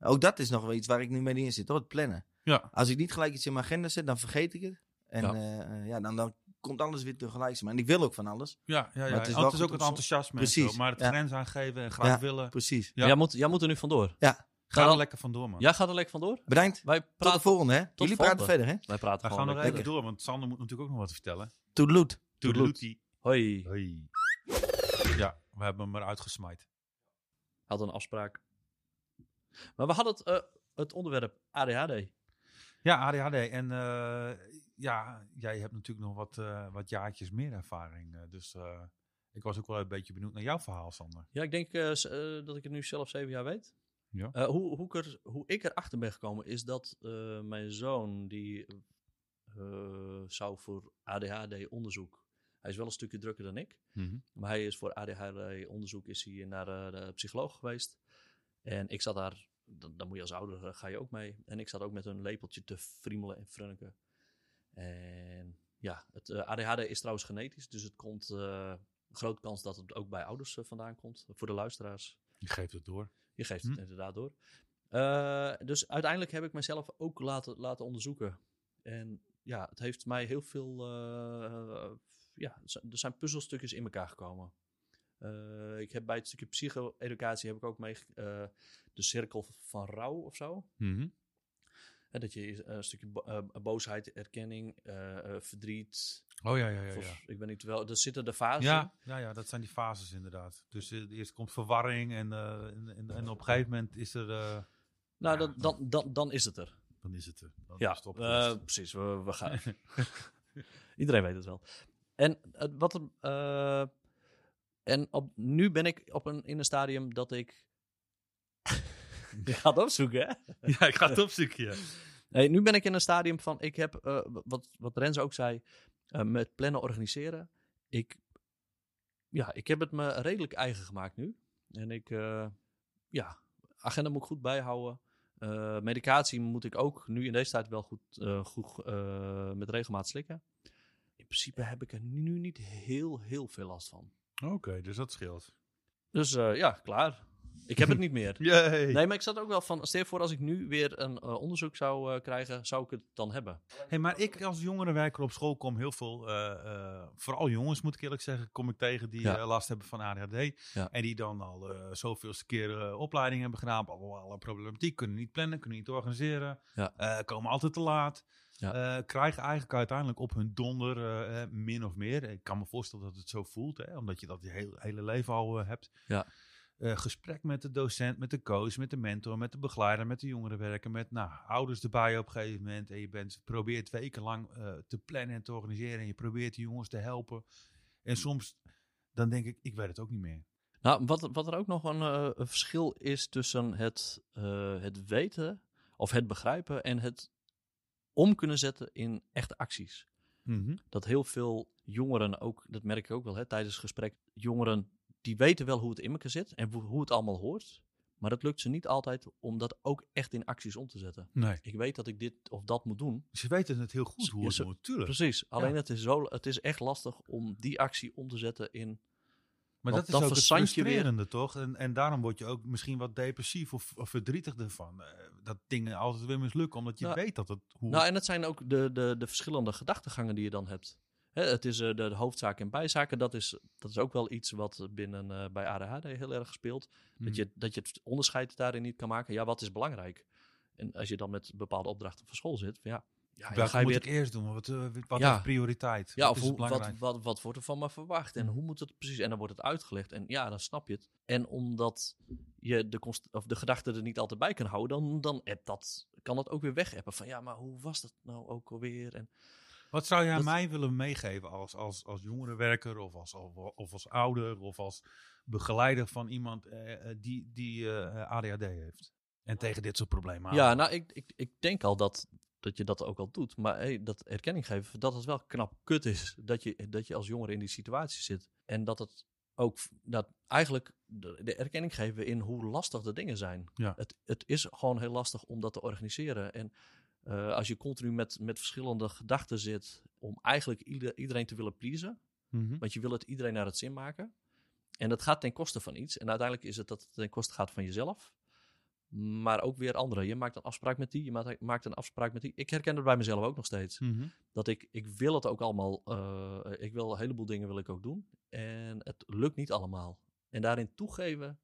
Speaker 2: Ook dat is nog wel iets waar ik nu mee in zit, hoor, het plannen.
Speaker 3: Ja.
Speaker 2: Als ik niet gelijk iets in mijn agenda zet, dan vergeet ik het. En eh,
Speaker 1: Ja.
Speaker 2: ja, ja dan, dan komt alles weer tegelijk. Maar en ik wil ook van alles.
Speaker 3: Ja, ja, ja.
Speaker 2: het
Speaker 3: Het
Speaker 2: is
Speaker 3: is,
Speaker 2: wel goed
Speaker 3: ook
Speaker 2: om
Speaker 3: het
Speaker 2: zo-
Speaker 3: enthousiasme. en zo,
Speaker 2: Precies,
Speaker 3: maar het
Speaker 2: ja.
Speaker 3: grens aangeven en graag
Speaker 2: Ja.
Speaker 3: willen.
Speaker 2: Precies.
Speaker 3: Ja.
Speaker 1: Jij, moet, jij moet er nu vandoor.
Speaker 3: Ga er
Speaker 1: dan-
Speaker 3: lekker vandoor, man.
Speaker 1: Jij gaat er lekker vandoor.
Speaker 2: Bedankt.
Speaker 1: Wij
Speaker 2: Tot de
Speaker 1: praten,
Speaker 2: volgende, hè? Jullie praten
Speaker 1: volgende.
Speaker 2: verder, hè?
Speaker 1: wij praten
Speaker 3: We
Speaker 1: gewoon
Speaker 3: gaan nog
Speaker 1: lekker.
Speaker 3: even door, want Sander moet natuurlijk ook nog wat vertellen.
Speaker 2: Toedeloed.
Speaker 3: Toedeloetie.
Speaker 1: Hoi.
Speaker 3: Hoi. Ja, we hebben hem eruit gesmaaid.
Speaker 1: Had een afspraak. Maar we hadden het, eh, het onderwerp ADHD.
Speaker 3: Ja, ADHD. En eh, ja, jij hebt natuurlijk nog wat, eh, wat jaartjes meer ervaring. eh, dus eh, ik was ook wel een beetje benieuwd naar jouw verhaal, Sander.
Speaker 1: Ja, ik denk eh, s- eh, dat ik het nu zelf zeven jaar weet.
Speaker 3: Ja.
Speaker 1: Eh, hoe, hoe, ik er, hoe ik erachter ben gekomen is dat eh, mijn zoon, die eh, zou voor ADHD onderzoek. Hij is wel een stukje drukker dan ik.
Speaker 3: Mhm.
Speaker 1: Maar hij is voor ADHD-onderzoek is hij naar eh, de psycholoog geweest. En ik zat daar, dan, dan moet je als ouder, eh, ga je ook mee. En ik zat ook met een lepeltje te friemelen en frunniken. En ja, het eh, ADHD is trouwens genetisch, dus het komt, eh grote kans dat het ook bij ouders eh, vandaan komt. Voor de luisteraars,
Speaker 3: Je geeft het door.
Speaker 1: je geeft het
Speaker 3: Hm.
Speaker 1: inderdaad door. Eh, dus uiteindelijk heb ik mezelf ook laten, laten onderzoeken. En ja, het heeft mij heel veel. eh, ja, z- er zijn puzzelstukjes in elkaar gekomen. Eh, ik heb bij het stukje psycho-educatie heb ik ook mee eh, de cirkel van rouw of zo.
Speaker 3: Mhm.
Speaker 1: Hè, dat je eh, een stukje bo- eh, boosheid, erkenning, eh, eh, verdriet.
Speaker 3: Oh ja, ja, ja. ja.
Speaker 1: vers- Ik ben niet wel. Er zitten de fasen.
Speaker 3: Ja, ja, ja, dat zijn die fases inderdaad. Dus eh, eerst komt verwarring en, eh, en, en, en op een gegeven moment is er... eh,
Speaker 1: Nou,
Speaker 3: Ja.
Speaker 1: dan, dan, dan, dan is het er.
Speaker 3: dan is het er. Dan
Speaker 1: Ja,
Speaker 3: is het
Speaker 1: eh,
Speaker 3: opgelost.
Speaker 1: precies. We, we gaan. Iedereen weet het wel. En eh, wat er, eh, en op, nu ben ik op een, in een stadium dat ik. *laughs* Je gaat opzoeken, hè?
Speaker 3: *laughs* ja, ik *laughs* ga het opzoeken, ja.
Speaker 1: Nee, nu ben ik in een stadium van. Ik heb, eh, wat, wat Rens ook zei, eh, met plannen organiseren. Ik, ja, ik heb het me redelijk eigen gemaakt nu. En ik, eh, ja, agenda moet ik goed bijhouden. Eh, medicatie moet ik ook nu in deze tijd wel goed, eh, goed eh, met regelmaat slikken. In principe heb ik er nu niet heel, heel veel last van.
Speaker 3: Oké, dus dat scheelt.
Speaker 1: Dus eh, ja, klaar. Ik heb het niet meer.
Speaker 3: Yay!
Speaker 1: Nee, maar ik zat ook wel van, stel je voor als ik nu weer een eh, onderzoek zou eh, krijgen, zou ik het dan hebben?
Speaker 3: Hey, maar ik als jongerenwerker op school kom heel veel, eh, eh, vooral jongens moet ik eerlijk zeggen, kom ik tegen die
Speaker 1: Ja.
Speaker 3: eh, last hebben van ADHD.
Speaker 1: Ja.
Speaker 3: En die dan al eh zoveelste keer eh, opleiding hebben gedaan, allemaal alle problematiek, kunnen niet plannen, kunnen niet organiseren,
Speaker 1: Ja.
Speaker 3: eh, komen altijd te laat.
Speaker 1: Ja.
Speaker 3: eh, krijgen eigenlijk uiteindelijk op hun donder eh, eh, min of meer. Ik kan me voorstellen dat het zo voelt, hè, omdat je dat je heel, hele leven al eh, hebt.
Speaker 1: Ja.
Speaker 3: Eh, gesprek met de docent, met de coach, met de mentor, met de begeleider, met de jongerenwerker, met nou, ouders erbij op een gegeven moment. En je bent, probeert wekenlang eh, te plannen en te organiseren. En je probeert de jongens te helpen. En soms, dan denk ik, ik weet het ook niet meer.
Speaker 1: Nou, wat, wat er ook nog een eh, een verschil is tussen het, eh, het weten of het begrijpen en het om kunnen zetten in echte acties. Dat heel veel jongeren ook, dat merk ik ook wel hè, tijdens het gesprek, jongeren die weten wel hoe het in elkaar zit en hoe- hoe het allemaal hoort. Maar dat lukt ze niet altijd om dat ook echt in acties om te zetten.
Speaker 3: Nee.
Speaker 1: Ik weet dat ik dit of dat moet doen.
Speaker 3: Ze weten het heel goed hoe
Speaker 1: Ja,
Speaker 3: het
Speaker 1: ze-
Speaker 3: moet, tuurlijk.
Speaker 1: Precies. Alleen het, is zo, het is echt lastig om die actie om te zetten in.
Speaker 3: Maar
Speaker 1: Want
Speaker 3: dat is
Speaker 1: dan
Speaker 3: ook het
Speaker 1: verzand je weer.
Speaker 3: frustrerende, toch? En, en daarom word je ook misschien wat depressief of, of verdrietig ervan. Eh, dat dingen altijd weer mislukken, omdat je
Speaker 1: Nou,
Speaker 3: weet dat het... Hoe...
Speaker 1: Nou, en dat zijn ook de, de, de verschillende gedachtegangen die je dan hebt. Hè, het is eh, de, de hoofdzaak en bijzaken. Dat is, dat is ook wel iets wat binnen eh, bij ADHD heel erg speelt.
Speaker 3: Hmm.
Speaker 1: Dat,
Speaker 3: Hm.
Speaker 1: je, dat je het onderscheid daarin niet kan maken. Ja, wat is belangrijk? En als je dan met bepaalde opdrachten van school zit, van ja, ja, dan
Speaker 3: Welke
Speaker 1: ga je
Speaker 3: moet
Speaker 1: weer.
Speaker 3: ik eerst doen? Wat, eh, wat
Speaker 1: Ja.
Speaker 3: is prioriteit?
Speaker 1: Ja,
Speaker 3: wat
Speaker 1: of
Speaker 3: is het
Speaker 1: hoe, wat,
Speaker 3: belangrijk?
Speaker 1: wat, wat wordt er van me verwacht en
Speaker 3: Mhm.
Speaker 1: hoe moet het precies? En dan wordt het uitgelegd en ja, dan snap je het. En omdat je de, const- of de gedachte er niet altijd bij kan houden, dan, dan appt dat, kan dat ook weer wegappen. Van ja, maar hoe was dat nou ook alweer? En
Speaker 3: Wat zou jij
Speaker 1: dat-
Speaker 3: mij willen meegeven als, als, als jongerenwerker of als, of als ouder of als begeleider van iemand eh, eh, die, die eh, ADHD heeft? En tegen dit soort problemen aan.
Speaker 1: Oh. Ja, nou, ik, ik, ik denk al dat, dat je dat ook al doet. Maar hey, dat erkenning geven, dat het wel knap kut is. Dat je, dat je als jongere in die situatie zit. En dat het ook, dat eigenlijk de, de erkenning geven in hoe lastig de dingen zijn.
Speaker 3: Ja.
Speaker 1: Het, het is gewoon heel lastig om dat te organiseren. En eh, als je continu met, met verschillende gedachten zit, om eigenlijk ieder- iedereen te willen pleasen.
Speaker 3: Mhm.
Speaker 1: Want je wil het iedereen naar het zin maken. En dat gaat ten koste van iets. En uiteindelijk is het dat het ten koste gaat van jezelf. Maar ook weer andere. Je maakt een afspraak met die, je maakt- maakt een afspraak met die. Ik herken het bij mezelf ook nog steeds. Dat ik, ik wil het ook allemaal, eh, ik wil een heleboel dingen wil ik ook doen. En het lukt niet allemaal. En daarin toegeven,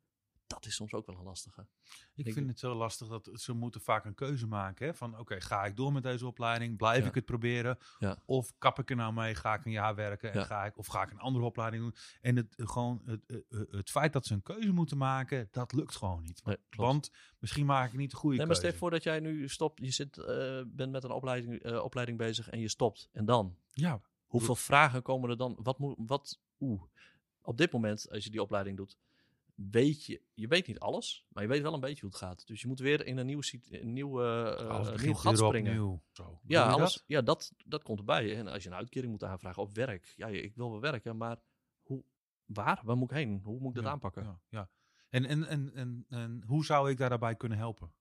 Speaker 1: dat is soms ook wel een lastige.
Speaker 3: Ik
Speaker 1: Ik-
Speaker 3: vind het zo lastig dat ze moeten vaak een keuze maken. Hè? Van oké, ga ik door met deze opleiding? Blijf
Speaker 1: Ja.
Speaker 3: ik het proberen?
Speaker 1: Ja.
Speaker 3: Of kap ik er nou mee? Ga ik een jaar werken? En
Speaker 1: Ja.
Speaker 3: ga ik, of ga ik een andere opleiding doen? En het, eh, gewoon het, het, het feit dat ze een keuze moeten maken, dat lukt gewoon niet.
Speaker 1: Nee, klopt.
Speaker 3: Want misschien maak ik niet de goede
Speaker 1: Nee, maar
Speaker 3: keuze.
Speaker 1: stel je voor dat jij nu stopt, je zit, eh, bent met een opleiding, eh, opleiding bezig en je stopt. En dan?
Speaker 3: Ja,
Speaker 1: Hoeveel vragen komen er dan? Wat moet, wat, oeh. Op dit moment, als je die opleiding doet, weet je, je weet niet alles, maar je weet wel een beetje hoe het gaat. Dus je moet weer in een nieuw, sit- een nieuw, eh, eh,
Speaker 3: alles
Speaker 1: een nieuw
Speaker 3: begint
Speaker 1: gat
Speaker 3: weer
Speaker 1: springen.
Speaker 3: opnieuw. Zo,
Speaker 1: Ja,
Speaker 3: bedoel je
Speaker 1: alles,
Speaker 3: dat?
Speaker 1: ja dat, dat komt erbij. En als je een uitkering moet aanvragen op werk. Ja, ik wil wel werken, maar hoe, waar? Waar moet ik heen? Hoe moet ik dat
Speaker 3: Ja,
Speaker 1: aanpakken?
Speaker 3: Ja, ja. En, en, en, en, en hoe zou ik daarbij kunnen helpen?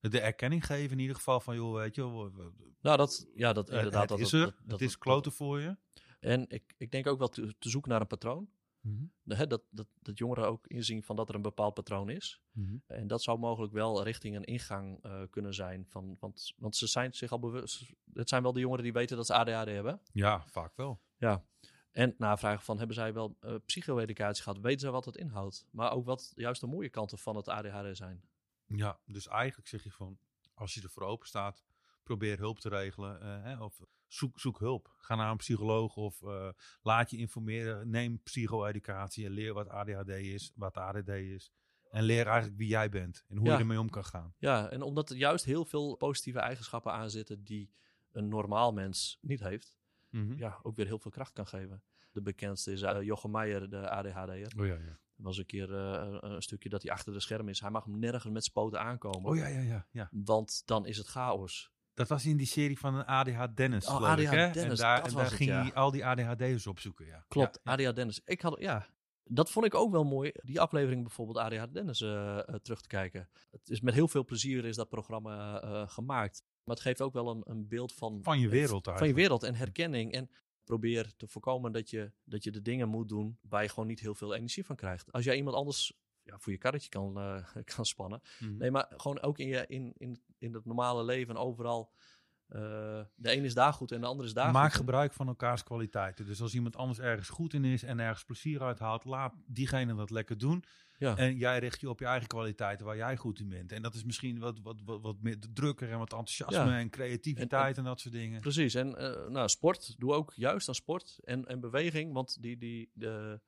Speaker 3: De erkenning geven in ieder geval van, joh, weet je, wel, we- we-
Speaker 1: Nou, dat, ja, dat
Speaker 3: het-
Speaker 1: inderdaad.
Speaker 3: Eh, het
Speaker 1: dat,
Speaker 3: is
Speaker 1: dat-
Speaker 3: er,
Speaker 1: dat- dat-
Speaker 3: het is
Speaker 1: dat-
Speaker 3: kloten voor je.
Speaker 1: En ik, ik denk ook wel te, te zoeken naar een patroon.
Speaker 3: Mhm,
Speaker 1: De- hè, dat, dat, dat jongeren ook inzien van dat er een bepaald patroon is.
Speaker 3: mhm.
Speaker 1: En dat zou mogelijk wel richting een ingang eh, kunnen zijn. Van, want, want ze zijn zich al bewust. Het zijn wel de jongeren die weten dat ze ADHD hebben.
Speaker 3: Ja, vaak wel.
Speaker 1: Ja. En navragen van, hebben zij wel eh psycho-educatie gehad? Weten zij wat het inhoudt? Maar ook wat juist de mooie kanten van het ADHD zijn.
Speaker 3: Ja, dus eigenlijk zeg je van, als je er voor open staat, probeer hulp te regelen. eh, hè, of zoek, zoek hulp. Ga naar een psycholoog of eh, laat je informeren. Neem psycho-educatie en leer wat ADHD is, wat ADD is. En leer eigenlijk wie jij bent en hoe
Speaker 1: Ja.
Speaker 3: je ermee om kan gaan.
Speaker 1: Ja, en omdat er juist heel veel positieve eigenschappen aan zitten die een normaal mens niet heeft.
Speaker 3: Hm.
Speaker 1: Ja, ook weer heel veel kracht kan geven. De bekendste is eh, Jochem Meijer, de ADHD'er.
Speaker 3: Oh ja, ja.
Speaker 1: Er was een keer eh, een- een stukje dat hij achter de scherm is. Hij mag hem nergens met spoten aankomen.
Speaker 3: Oh ja, ja, ja. ja.
Speaker 1: Want dan is het chaos.
Speaker 3: Dat was in die serie van een ADH Dennis.
Speaker 1: Oh,
Speaker 3: geloof ik,
Speaker 1: ADH
Speaker 3: hè? en
Speaker 1: Dennis,
Speaker 3: daar,
Speaker 1: dat
Speaker 3: en
Speaker 1: was
Speaker 3: daar
Speaker 1: het,
Speaker 3: ging
Speaker 1: ja.
Speaker 3: hij al die ADHD'ers opzoeken, ja.
Speaker 1: Klopt,
Speaker 3: Ja,
Speaker 1: ADH Dennis. Ik had, ja, dat vond ik ook wel mooi. Die aflevering bijvoorbeeld ADH Dennis eh, eh, terug te kijken. Het is met heel veel plezier is dat programma eh, gemaakt. Maar het geeft ook wel een, een beeld van,
Speaker 3: Van je wereld
Speaker 1: van je
Speaker 3: eigenlijk.
Speaker 1: wereld en herkenning. En probeer te voorkomen dat je, dat je de dingen moet doen waar je gewoon niet heel veel energie van krijgt. Als jij iemand anders ja, voor je karretje kan, eh, *laughs* kan spannen.
Speaker 3: Mhm.
Speaker 1: Nee, maar gewoon ook in, je, in, in, in het normale leven en overal. eh, de een is daar goed en de ander is daar
Speaker 3: Maak
Speaker 1: goed. in.
Speaker 3: gebruik van elkaars kwaliteiten. Dus als iemand anders ergens goed in is en ergens plezier uit haalt, laat diegene dat lekker doen.
Speaker 1: Ja.
Speaker 3: En jij richt je op je eigen kwaliteiten waar jij goed in bent. En dat is misschien wat, wat, wat, wat meer drukker en wat enthousiasme
Speaker 1: Ja.
Speaker 3: en creativiteit en, dat soort dingen.
Speaker 1: Precies. En eh, nou, sport. Doe ook juist aan sport en, en beweging. Want die, die, de,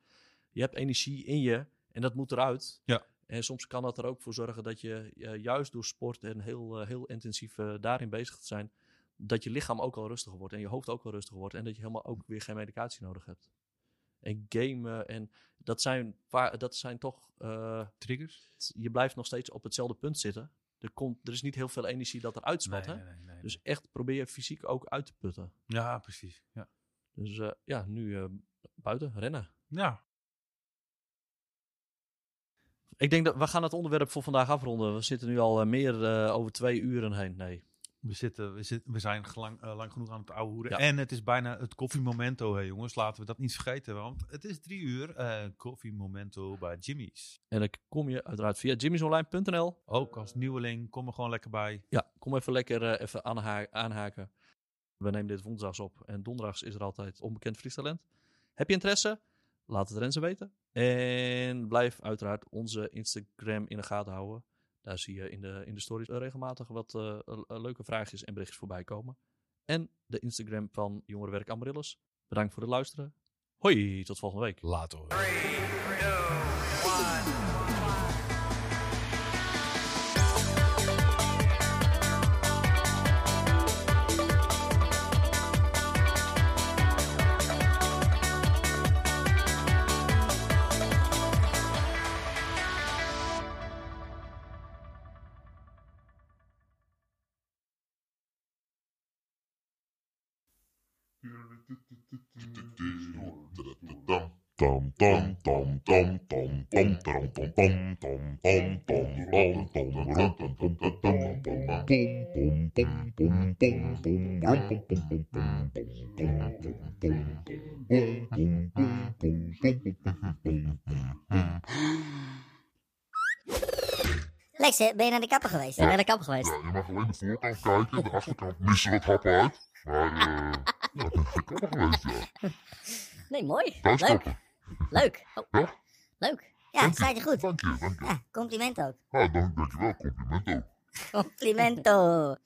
Speaker 1: je hebt energie in je en dat moet eruit.
Speaker 3: Ja.
Speaker 1: En soms kan dat er ook voor zorgen dat je eh, juist door sport en heel, eh, heel intensief eh, daarin bezig te zijn, dat je lichaam ook al rustiger wordt en je hoofd ook al rustiger wordt en dat je helemaal ook weer geen medicatie nodig hebt. En gamen en dat zijn, va- dat zijn toch, eh,
Speaker 3: Triggers?
Speaker 1: t- je blijft nog steeds op hetzelfde punt zitten. Er, komt, er is niet heel veel energie dat eruit
Speaker 3: Nee,
Speaker 1: spat. hè?
Speaker 3: nee, nee, nee, nee.
Speaker 1: Dus echt probeer je fysiek ook uit te putten.
Speaker 3: ja, precies. Ja.
Speaker 1: Dus eh, ja, nu eh, buiten, rennen.
Speaker 3: ja.
Speaker 1: Ik denk dat we gaan het onderwerp voor vandaag afronden. We zitten nu al eh, meer eh, over twee uren heen. Nee.
Speaker 3: We, zitten, we, zitten, we zijn lang, eh, lang genoeg aan het ouwe hoeren.
Speaker 1: Ja.
Speaker 3: En het is bijna het koffiemomento, hè, jongens. Laten we dat niet vergeten, want het is drie uur eh koffiemomento bij Jimmy's.
Speaker 1: En dan kom je uiteraard via jimmysonline.nl.
Speaker 3: Ook als nieuweling, kom er gewoon lekker bij.
Speaker 1: Ja, kom even lekker eh, even aanha- aanhaken. We nemen dit woensdags op. En donderdags is er altijd onbekend vriestalent. Heb je interesse? Laat het Renze weten. En blijf uiteraard onze Instagram in de gaten houden. Daar zie je in de, in de stories eh, regelmatig wat eh, eh, leuke vraagjes en berichtjes voorbij komen. En de Instagram van Jongerenwerk Amarillus. Bedankt voor het luisteren. Hoi, tot volgende week.
Speaker 3: Later. hoor.
Speaker 4: Tom tom tom tom tom tom tom tom tom tom tom tom tom tom tom tom
Speaker 5: Lex, hè, ben je naar de kapper geweest?
Speaker 4: Ja.
Speaker 5: Naar de kapper geweest.
Speaker 4: Ja, je mag alleen de voorkant kijken, de achterkant missen wat happen uit. Maar eh ja, dat heb ik ook nog geweest, ja.
Speaker 5: Nee, mooi. Leuk,
Speaker 4: Thuiskappen.
Speaker 5: leuk. Oh.
Speaker 4: Ja?
Speaker 5: Leuk. Ja,
Speaker 4: Dank je.
Speaker 5: staat je goed.
Speaker 4: Dank je, dank je.
Speaker 5: *laughs* Ja, compliment ook.
Speaker 4: Ah, dank, dankjewel, compliment ook.
Speaker 5: Complimento.